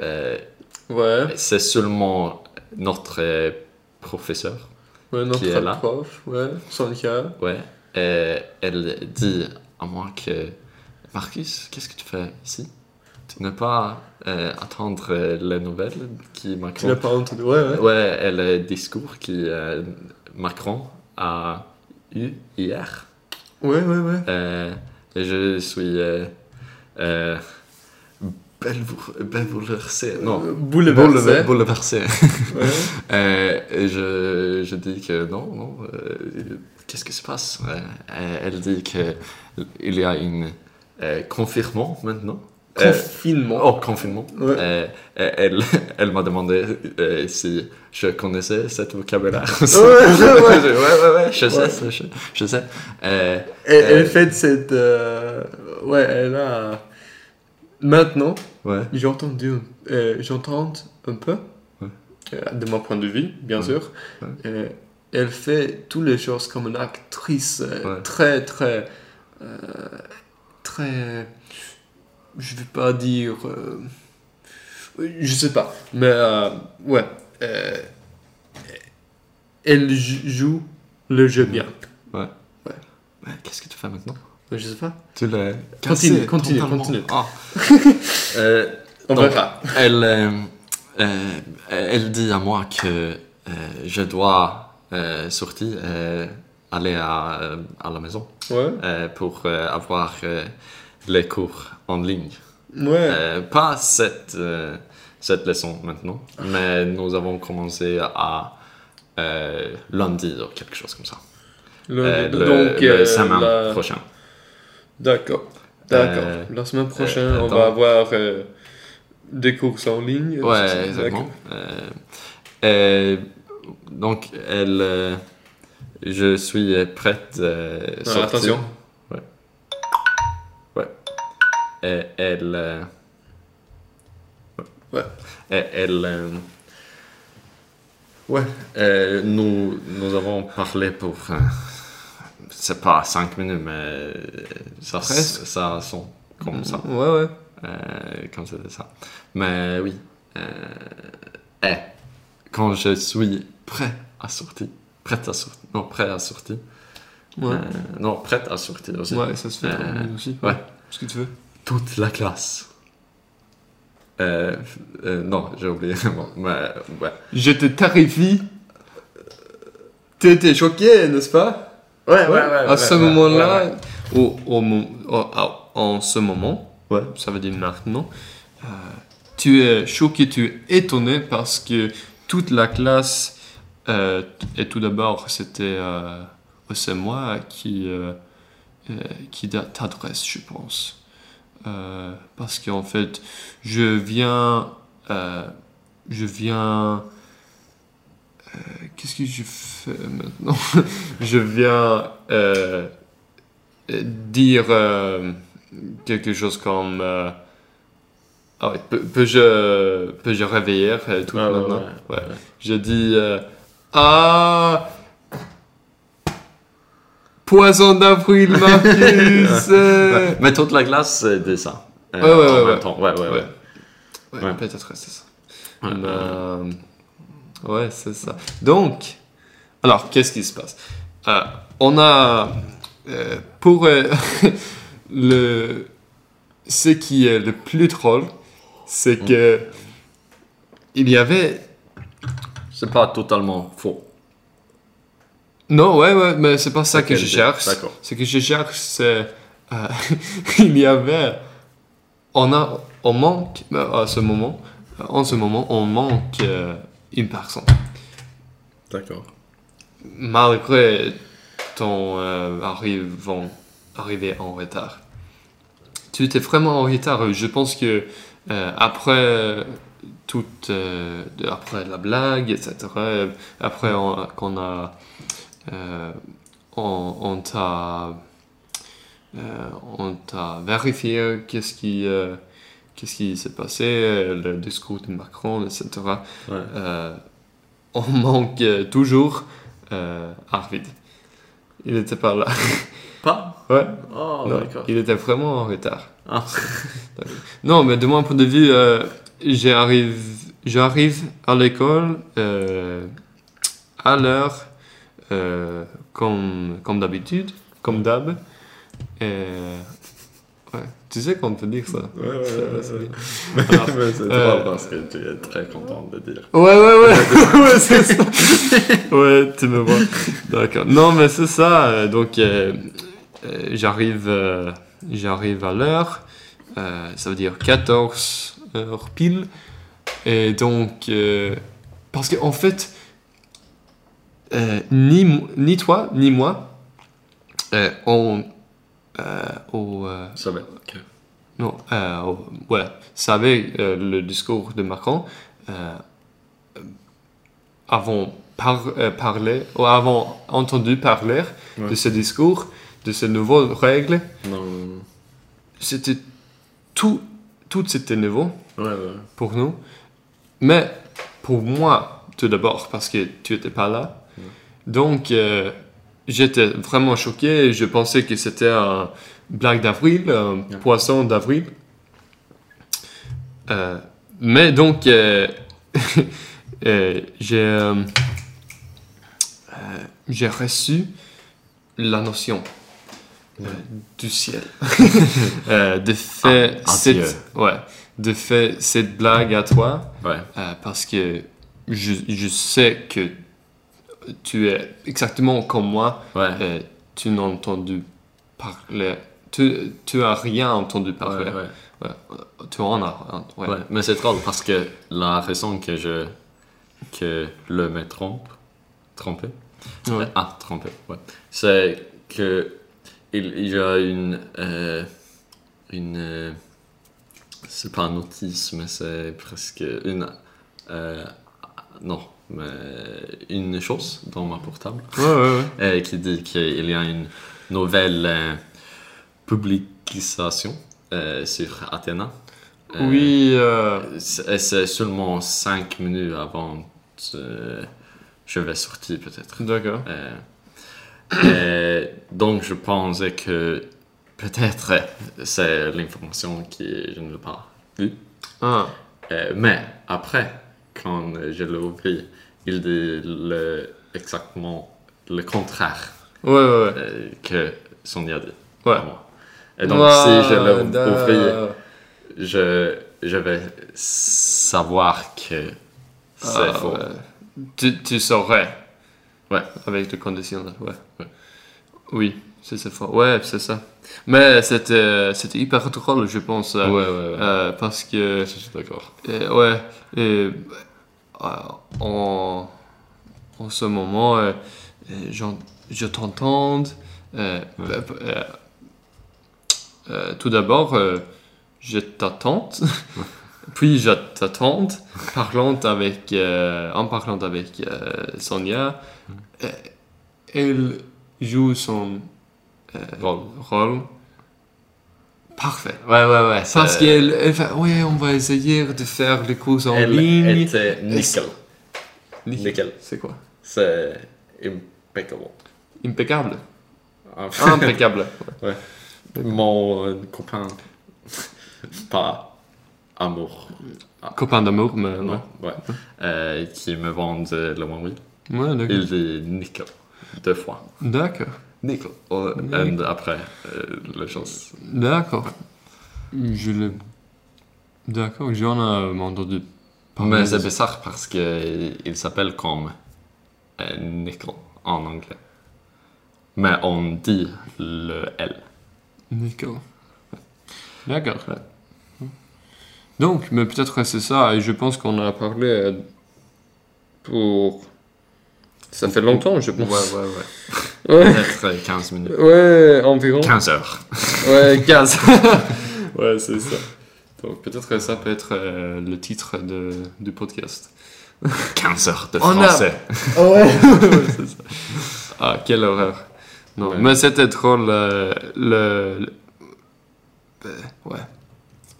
[SPEAKER 2] Euh,
[SPEAKER 1] Ouais,
[SPEAKER 2] c'est seulement notre euh, professeur.
[SPEAKER 1] ouais, notre
[SPEAKER 2] Qui est là.
[SPEAKER 1] prof, ouais, Sonika.
[SPEAKER 2] Ouais. Euh, elle dit à moi que Marcus, qu'est-ce que tu fais ici Tu n'as pas euh, attendre euh, les nouvelles qui
[SPEAKER 1] Tu
[SPEAKER 2] Macron.
[SPEAKER 1] l'as pas entendu, ouais, ouais.
[SPEAKER 2] Ouais, et le discours qui euh, Macron a eu hier.
[SPEAKER 1] Ouais, ouais, ouais.
[SPEAKER 2] Euh, je suis. Euh, euh, belvou- bouleversé. Non.
[SPEAKER 1] Euh, Bouleversé.
[SPEAKER 2] Boule- Bouleversé.
[SPEAKER 1] Ouais.
[SPEAKER 2] Euh, et je, je dis que non, non. euh, Qu'est-ce qui se passe Euh, euh, Elle dit que il y a une euh, confinement maintenant. Euh,
[SPEAKER 1] Confinement.
[SPEAKER 2] oh, confinement.
[SPEAKER 1] Ouais.
[SPEAKER 2] Euh, et elle [LAUGHS] elle m'a demandé euh, si je connaissais cette vocabulaire. [LAUGHS]
[SPEAKER 1] ouais, ouais.
[SPEAKER 2] ouais, ouais, ouais, je
[SPEAKER 1] Ouais.
[SPEAKER 2] sais, je, je sais. Euh,
[SPEAKER 1] Et
[SPEAKER 2] Euh,
[SPEAKER 1] elle fait cette... euh, Ouais, elle a... Maintenant,
[SPEAKER 2] ouais.
[SPEAKER 1] j'ai entendu, euh, j'entends un peu,
[SPEAKER 2] Ouais.
[SPEAKER 1] euh, de mon point de vue, bien
[SPEAKER 2] Ouais.
[SPEAKER 1] sûr.
[SPEAKER 2] Ouais.
[SPEAKER 1] Euh, elle fait toutes les choses comme une actrice euh,
[SPEAKER 2] Ouais.
[SPEAKER 1] très, très... euh, très... Je vais pas dire... euh, je sais pas, mais euh, ouais. euh, elle j- joue le jeu bien.
[SPEAKER 2] Ouais, Qu'est-ce que tu fais maintenant
[SPEAKER 1] Je sais pas.
[SPEAKER 2] Tu l'as Ah.
[SPEAKER 1] Continue, continue, continue.
[SPEAKER 2] [LAUGHS] euh,
[SPEAKER 1] On
[SPEAKER 2] Donc,
[SPEAKER 1] verra.
[SPEAKER 2] elle, euh, euh, elle dit à moi que euh, je dois euh, sortir, euh, aller à, euh, à la maison
[SPEAKER 1] Ouais.
[SPEAKER 2] euh, pour euh, avoir euh, les cours en ligne.
[SPEAKER 1] Ouais.
[SPEAKER 2] Euh, pas cette, euh, cette leçon maintenant, mais nous avons commencé à euh, lundi ou quelque chose comme ça.
[SPEAKER 1] Le-
[SPEAKER 2] Euh, le,
[SPEAKER 1] donc,
[SPEAKER 2] le
[SPEAKER 1] euh,
[SPEAKER 2] samedi
[SPEAKER 1] la-
[SPEAKER 2] prochain.
[SPEAKER 1] D'accord. D'accord.
[SPEAKER 2] Euh,
[SPEAKER 1] la semaine prochaine,
[SPEAKER 2] euh,
[SPEAKER 1] on
[SPEAKER 2] attends.
[SPEAKER 1] va avoir euh, des courses en ligne. C'est-
[SPEAKER 2] Ouais,
[SPEAKER 1] c'est-
[SPEAKER 2] exactement. Euh, euh, donc, elle. euh, je suis euh, prête. Euh,
[SPEAKER 1] d'accord.
[SPEAKER 2] sortir.
[SPEAKER 1] Ah, attention.
[SPEAKER 2] Euh, elle. euh,
[SPEAKER 1] Ouais.
[SPEAKER 2] Euh, elle. euh, ouais. euh, nous, nous avons parlé pour. euh, c'est pas cinq minutes, mais euh, ça,
[SPEAKER 1] Presque.
[SPEAKER 2] ça sent comme ça.
[SPEAKER 1] Ouais, ouais.
[SPEAKER 2] Euh, comme c'était ça. Mais oui. Euh, eh, quand je suis prêt à sortir. Prête à sortir. Non, prêt à sortir.
[SPEAKER 1] Ouais,
[SPEAKER 2] Euh, non, prête à sortir aussi.
[SPEAKER 1] ouais ça se fait
[SPEAKER 2] Euh,
[SPEAKER 1] en ligne aussi.
[SPEAKER 2] ouais.
[SPEAKER 1] Ce que tu veux.
[SPEAKER 2] Toute la classe. Euh, euh, non, j'ai oublié. Bon, mais, ouais.
[SPEAKER 1] Je te terrifie. T'étais choqué, n'est-ce pas
[SPEAKER 2] Ouais,
[SPEAKER 1] à ce moment-là, au, au mo- au- à- en ce moment,
[SPEAKER 2] Ouais.
[SPEAKER 1] ça veut dire maintenant, euh, tu es choqué, tu es étonné parce que toute la classe, euh, et tout d'abord, c'était euh, c'est moi qui, euh, euh, qui da- t'adresse, je pense. Euh, parce qu'en fait, je viens. euh, je viens. euh, Qu'est-ce que je fais maintenant [LAUGHS] Je viens euh, euh, dire euh, quelque chose comme. euh, ah ouais, peux, peux je, peux je réveiller euh, tout
[SPEAKER 2] Ah, ouais,
[SPEAKER 1] maintenant
[SPEAKER 2] ouais,
[SPEAKER 1] Ouais. Je dis. euh, ah Poison d'avril, Marcus euh,
[SPEAKER 2] Mais toute la classe euh, dit ça. Euh,
[SPEAKER 1] Ouais, ouais,
[SPEAKER 2] en
[SPEAKER 1] ouais,
[SPEAKER 2] même
[SPEAKER 1] ouais.
[SPEAKER 2] temps. Ouais, ouais, ouais.
[SPEAKER 1] Ouais. Ouais,
[SPEAKER 2] Ouais.
[SPEAKER 1] peut-être c'est ça.
[SPEAKER 2] Ouais,
[SPEAKER 1] Mais,
[SPEAKER 2] euh,
[SPEAKER 1] euh, ouais, c'est ça. Donc, alors, qu'est-ce qui se passe Euh, On a, euh, pour euh, [LAUGHS] le, ce qui est le plus drôle, c'est que il y avait,
[SPEAKER 2] C'est pas totalement faux.
[SPEAKER 1] non, ouais, ouais, mais c'est pas ça que
[SPEAKER 2] Laquelle
[SPEAKER 1] je
[SPEAKER 2] idée
[SPEAKER 1] cherche.
[SPEAKER 2] D'accord.
[SPEAKER 1] Ce que je cherche, c'est, euh, [LAUGHS] il y avait, on a, on manque, euh, à ce moment, en ce moment, on manque euh, une personne.
[SPEAKER 2] D'accord.
[SPEAKER 1] malgré ton euh, arrivant- arrivée en retard. tu t'es vraiment en retard. Je pense que euh, après toute, euh, de- après la blague, etc. euh, Après on- qu'on a, euh, on, on t'a, euh, on t'a vérifié qu'est-ce qui, euh, qu'est-ce qui s'est passé, euh, le discours de Macron, etc.
[SPEAKER 2] Ja.
[SPEAKER 1] Euh, on manque euh, toujours euh, Arvid. Il n'était pas là. [LAUGHS]
[SPEAKER 2] Pas?
[SPEAKER 1] Ouais.
[SPEAKER 2] Oh,
[SPEAKER 1] Non,
[SPEAKER 2] d'accord.
[SPEAKER 1] il était vraiment en retard.
[SPEAKER 2] Ah.
[SPEAKER 1] [LAUGHS] Non, mais de mon point de vue, euh, j'arrive, j'arrive à l'école euh, à l'heure, euh, comme, comme d'habitude, comme d'hab. Euh, ouais. Tu sais qu'on peut dire ça
[SPEAKER 2] Ouais, ouais, ouais, ouais. [LAUGHS]
[SPEAKER 1] Alors,
[SPEAKER 2] Men c'est
[SPEAKER 1] euh,
[SPEAKER 2] pas parce que tu es très content de dire.
[SPEAKER 1] Ouais, ouais, ouais, [LAUGHS] ouais c'est ça. Ouais, tu me vois. D'accord. Non, mais c'est ça. euh, Donc, euh, euh, j'arrive, euh, j'arrive à l'heure. Euh, ça veut dire 14 heures pile. Et donc, euh, parce qu'en fait, euh, ni, mo- ni toi, ni moi, euh, on, euh, au, euh,
[SPEAKER 2] Ça va. Okej.
[SPEAKER 1] non, euh, ouais, savait euh, le discours de Macron euh, avant par, euh, parler ou avant entendu parler de
[SPEAKER 2] Ouais.
[SPEAKER 1] ce discours, de ces nouvelles règles.
[SPEAKER 2] Non.
[SPEAKER 1] C'était tout, tout c'était nouveau
[SPEAKER 2] Ouais, ouais.
[SPEAKER 1] pour nous. Mais pour moi, tout d'abord, parce que tu n'étais pas là.
[SPEAKER 2] Ouais.
[SPEAKER 1] Donc, euh, j'étais vraiment choqué. Je pensais que c'était un blague d'avril, un
[SPEAKER 2] Ouais.
[SPEAKER 1] poisson d'avril. Euh, mais donc, euh, [LAUGHS] euh, j'ai euh, euh, j'ai reçu la notion euh,
[SPEAKER 2] Ouais.
[SPEAKER 1] du ciel. [LAUGHS] Euh, de faire
[SPEAKER 2] Ah, adieu.
[SPEAKER 1] cette, ouais, de faire cette blague à toi
[SPEAKER 2] Ouais.
[SPEAKER 1] euh, parce que je, je sais que tu es exactement comme moi.
[SPEAKER 2] Ouais.
[SPEAKER 1] euh, tu n'as entendu parler. Tu, tu as rien entendu parler.
[SPEAKER 2] Ouais, ouais.
[SPEAKER 1] Tu en as. Ouais.
[SPEAKER 2] Ouais, mais c'est drôle parce que la raison que je que le me trompe, trompé,
[SPEAKER 1] Ouais.
[SPEAKER 2] ah trompé, ouais, c'est que il, il y a une euh, une euh, c'est pas un autisme, c'est presque une euh, non, mais une chose dans ma portable
[SPEAKER 1] Ouais, ouais, ouais.
[SPEAKER 2] euh, qui dit qu'il y a une nouvelle euh, publication euh, sur Athéna. Euh,
[SPEAKER 1] Oui. euh,
[SPEAKER 2] c'est c'est seulement 5 minutes avant que je vais sortir peut-être.
[SPEAKER 1] D'accord.
[SPEAKER 2] Euh, euh, donc je pense que peut-être c'est l'information que je ne l'ai pas vue.
[SPEAKER 1] Ah,
[SPEAKER 2] Euh, mais après, quand je l'ai ouvert, il dit le, exactement le contraire
[SPEAKER 1] ouais, ouais, ouais.
[SPEAKER 2] euh, que Sonia dit.
[SPEAKER 1] Ouais.
[SPEAKER 2] à moi. Et donc
[SPEAKER 1] Ouah,
[SPEAKER 2] si je l'ai
[SPEAKER 1] da-
[SPEAKER 2] ouvert, je, je vais savoir que c'est
[SPEAKER 1] Ah,
[SPEAKER 2] faux.
[SPEAKER 1] ouais. Tu, tu saurais.
[SPEAKER 2] Ouais.
[SPEAKER 1] Avec le conditionnel, ouais.
[SPEAKER 2] Ouais.
[SPEAKER 1] Oui, c'est ça. fort. Ouais, c'est ça. Mais c'était euh, c'était hyper drôle, je pense.
[SPEAKER 2] Ouais,
[SPEAKER 1] euh,
[SPEAKER 2] ouais, ouais.
[SPEAKER 1] euh, parce que,
[SPEAKER 2] je suis d'accord.
[SPEAKER 1] euh, ouais, euh, euh, en, en ce moment, euh, euh, j'en- je t'entends. euh,
[SPEAKER 2] Ouais.
[SPEAKER 1] euh, euh, euh, tout d'abord, euh, je
[SPEAKER 2] [LAUGHS]
[SPEAKER 1] t'attends. Puis je t'attends, parlant avec, euh, en parlant avec euh, Sonia.
[SPEAKER 2] Mm.
[SPEAKER 1] Euh, elle joue son euh,
[SPEAKER 2] Rôle.
[SPEAKER 1] rôle parfait.
[SPEAKER 2] Ouais, ouais, ouais.
[SPEAKER 1] Parce qu'elle elle fait, ouais, on va essayer de faire les cours en ligne.
[SPEAKER 2] Elle était nickel.
[SPEAKER 1] Nickel.
[SPEAKER 2] Nickel.
[SPEAKER 1] C'est quoi
[SPEAKER 2] C'est impeccable.
[SPEAKER 1] Impeccable.
[SPEAKER 2] Ah,
[SPEAKER 1] Impeccable.
[SPEAKER 2] Mon euh, copain. [LAUGHS] Pas amour.
[SPEAKER 1] [LAUGHS] Copain d'amour, mais
[SPEAKER 2] Non, ouais. Euh, qui me vend euh, le Maui.
[SPEAKER 1] ouais. Ouais, d'accord.
[SPEAKER 2] Il dit nickel. Deux fois.
[SPEAKER 1] D'accord.
[SPEAKER 2] Nickel. Oh, and après, euh, le chose.
[SPEAKER 1] D'accord. Je le. D'accord, j'en ai entendu parler.
[SPEAKER 2] Ah, Mais c'est bizarre parce qu'il s'appelle comme euh, nickel en anglais. Mais on dit le L.
[SPEAKER 1] D'accord. D'accord. Donc, mais peut-être que c'est ça, et je pense qu'on a parlé euh, pour. Ça fait longtemps, je
[SPEAKER 2] Ouais,
[SPEAKER 1] pense.
[SPEAKER 2] ouais, ouais.
[SPEAKER 1] Ouais,
[SPEAKER 2] Peut-être 15 minutes.
[SPEAKER 1] ouais environ.
[SPEAKER 2] [LAUGHS] 15 heures.
[SPEAKER 1] Ouais, 15. Ouais, c'est ça. Donc peut-être que ça peut être euh, le titre de, du podcast.
[SPEAKER 2] Cancer de
[SPEAKER 1] Oh, non.
[SPEAKER 2] français.
[SPEAKER 1] [LAUGHS] C'est ça. ah, quelle horreur. Non,
[SPEAKER 2] Ouais.
[SPEAKER 1] mais c'était drôle. euh, le, le- Euh, ouais.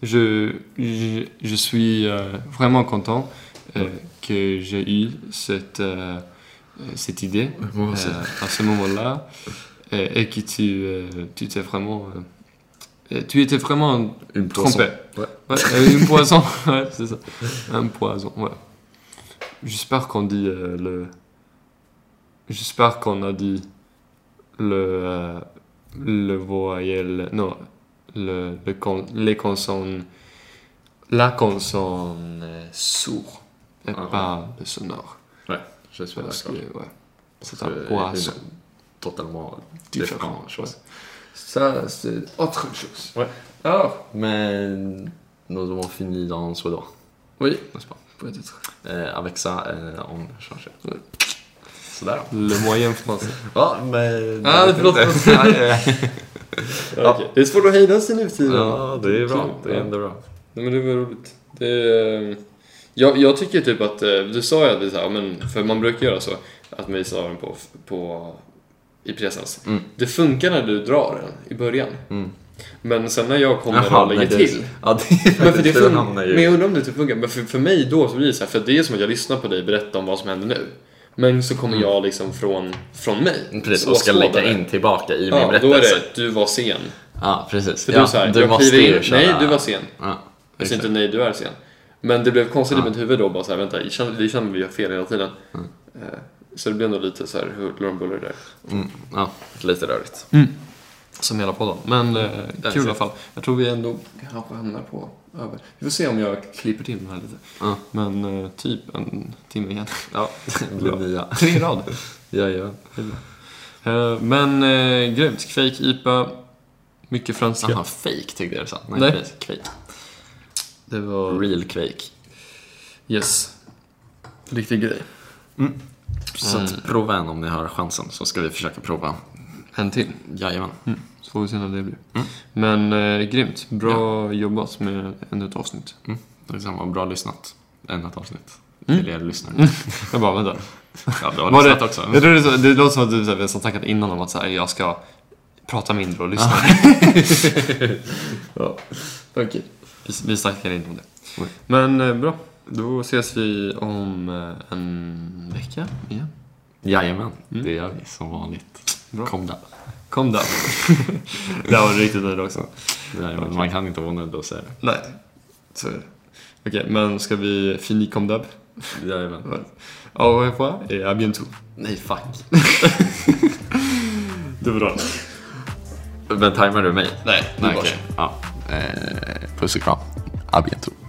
[SPEAKER 1] Je, je, je suis euh, vraiment content euh, que j'ai eu cette, euh, euh, cette idée
[SPEAKER 2] Moi
[SPEAKER 1] euh,
[SPEAKER 2] aussi.
[SPEAKER 1] à ce moment-là euh, et que tu, euh, tu t'es vraiment... euh, tu étais vraiment
[SPEAKER 2] Une poisson.
[SPEAKER 1] Trompé.
[SPEAKER 2] Ouais.
[SPEAKER 1] euh, une poisson. [LAUGHS] ouais, c'est ça. Un poison, ouais. J'espère qu'on dit euh, le. J'espère qu'on a dit le. euh, le voyelle. Non. Le, le con, les consonnes. La consonne euh, sourd. Et
[SPEAKER 2] Ah,
[SPEAKER 1] pas le sonore.
[SPEAKER 2] Je suis
[SPEAKER 1] Parce que,
[SPEAKER 2] d'accord.
[SPEAKER 1] ouais. C'est
[SPEAKER 2] Parce
[SPEAKER 1] un
[SPEAKER 2] que
[SPEAKER 1] poisson
[SPEAKER 2] une Totalement
[SPEAKER 1] différent.
[SPEAKER 2] différent. chose.
[SPEAKER 1] Ça, c'est autre chose.
[SPEAKER 2] Ouais.
[SPEAKER 1] Alors,
[SPEAKER 2] Mais nous avons fini dans Soudan,
[SPEAKER 1] oui,
[SPEAKER 2] n'est-ce pas
[SPEAKER 1] peut-être.
[SPEAKER 2] euh, Avec ça, euh, on change.
[SPEAKER 1] Ouais.
[SPEAKER 2] Sådär.
[SPEAKER 1] Le moyen français.
[SPEAKER 2] Ja, men...
[SPEAKER 1] Ja, förlåt.
[SPEAKER 2] [LAUGHS] Ja.
[SPEAKER 1] Det är svårt att hejda sig nu för tiden.
[SPEAKER 2] ja, det är bra. Det är ändå bra.
[SPEAKER 1] Nej, men det var roligt. Det, är- jag, jag tycker typ att, eh, du sa ju att det är så här, men, för man brukar göra så, att man visar den på, på, i presens.
[SPEAKER 2] Mm.
[SPEAKER 1] Det funkar när du drar den i början.
[SPEAKER 2] Mm.
[SPEAKER 1] Men sen när jag kommer
[SPEAKER 2] Jaha,
[SPEAKER 1] och lägger
[SPEAKER 2] nej, det-
[SPEAKER 1] till.
[SPEAKER 2] Ja, [LAUGHS] det
[SPEAKER 1] [LAUGHS]
[SPEAKER 2] är
[SPEAKER 1] Men, för det
[SPEAKER 2] faktiskt... Du
[SPEAKER 1] fun-
[SPEAKER 2] hamnar
[SPEAKER 1] men
[SPEAKER 2] ju...
[SPEAKER 1] jag undrar om det typ funkar. Men för, för mig då så blir det så här, för det är som att jag lyssnar på dig berätta om vad som händer nu. Men så kommer jag liksom från, från mig.
[SPEAKER 2] Mm. Precis,
[SPEAKER 1] Så
[SPEAKER 2] och ska
[SPEAKER 1] åskådare.
[SPEAKER 2] lägga in tillbaka i min
[SPEAKER 1] Ja, då är
[SPEAKER 2] berättelse.
[SPEAKER 1] det du var sen.
[SPEAKER 2] Ja, precis.
[SPEAKER 1] För
[SPEAKER 2] ja,
[SPEAKER 1] du sa jag kliver in. Nej, du var sen.
[SPEAKER 2] Ja,
[SPEAKER 1] Jag säger
[SPEAKER 2] exakt.
[SPEAKER 1] inte nej, du är sen. Men det blev konstigt
[SPEAKER 2] Ja.
[SPEAKER 1] i mitt huvud då, bara så här, vänta, vi känner, vi känner vi gör fel hela tiden. Eh, Så det blev nog lite så här huller om buller där.
[SPEAKER 2] Mm, ja,
[SPEAKER 1] [LAUGHS]
[SPEAKER 2] lite rörigt.
[SPEAKER 1] Som hela podden. Men eh,
[SPEAKER 2] kul i alla
[SPEAKER 1] fall. Jag tror vi ändå kanske hamnar på över. Vi får se om jag klipper till den här lite.
[SPEAKER 2] Ja.
[SPEAKER 1] Men typ en timme [LAUGHS] igen.
[SPEAKER 2] Ja, det blir
[SPEAKER 1] Bra.
[SPEAKER 2] nya.
[SPEAKER 1] Tre rad.
[SPEAKER 2] Ja, ja.
[SPEAKER 1] Eh, Men eh, grymt. Fake IPA. Mycket franska.
[SPEAKER 2] Jaha, fake tyckte jag du sa. Nej,
[SPEAKER 1] Nej.
[SPEAKER 2] precis. Quake.
[SPEAKER 1] Det var...
[SPEAKER 2] Real Quake.
[SPEAKER 1] Yes. Riktig grej.
[SPEAKER 2] Så
[SPEAKER 1] Eh.
[SPEAKER 2] att prova en om ni har chansen, så ska vi försöka prova.
[SPEAKER 1] En till.
[SPEAKER 2] Jajamän.
[SPEAKER 1] Så får vi se när det blir. Men eh, grymt. Bra jobbat med ännu ett avsnitt.
[SPEAKER 2] Detsamma, bra lyssnat. Ännu ett avsnitt.
[SPEAKER 1] Mm.
[SPEAKER 2] Till er lyssnare.
[SPEAKER 1] Jag bara, [LAUGHS] vänta.
[SPEAKER 2] Ja, bra
[SPEAKER 1] Var det-
[SPEAKER 2] lyssnat också.
[SPEAKER 1] Jag tror det, är så, det låter som att du, så här, vi har snackat innan om att så här, jag ska prata mindre och lyssna. [LAUGHS] ja. Okej. Vi, vi snackade inte om det.
[SPEAKER 2] Nej.
[SPEAKER 1] Men eh, bra. Då ses vi om eh, en vecka igen.
[SPEAKER 2] Jajamän, det gör vi som vanligt.
[SPEAKER 1] Mm. Bra.
[SPEAKER 2] Kom där.
[SPEAKER 1] Kom där. [LAUGHS] det här var riktigt nöjd också.
[SPEAKER 2] Jajamän, man kan inte vara nöjd och säga det.
[SPEAKER 1] Nej. Så är det. Okej, men ska vi fini comme d'hab?
[SPEAKER 2] Jajamän.
[SPEAKER 1] Voilà. Au revoir et à bientôt.
[SPEAKER 2] Nej, fuck.
[SPEAKER 1] [LAUGHS] Det var bra.
[SPEAKER 2] Men tajmar du mig?
[SPEAKER 1] Nej,
[SPEAKER 2] Nej, okej. Ja. Eh, puss och kram. A bientôt.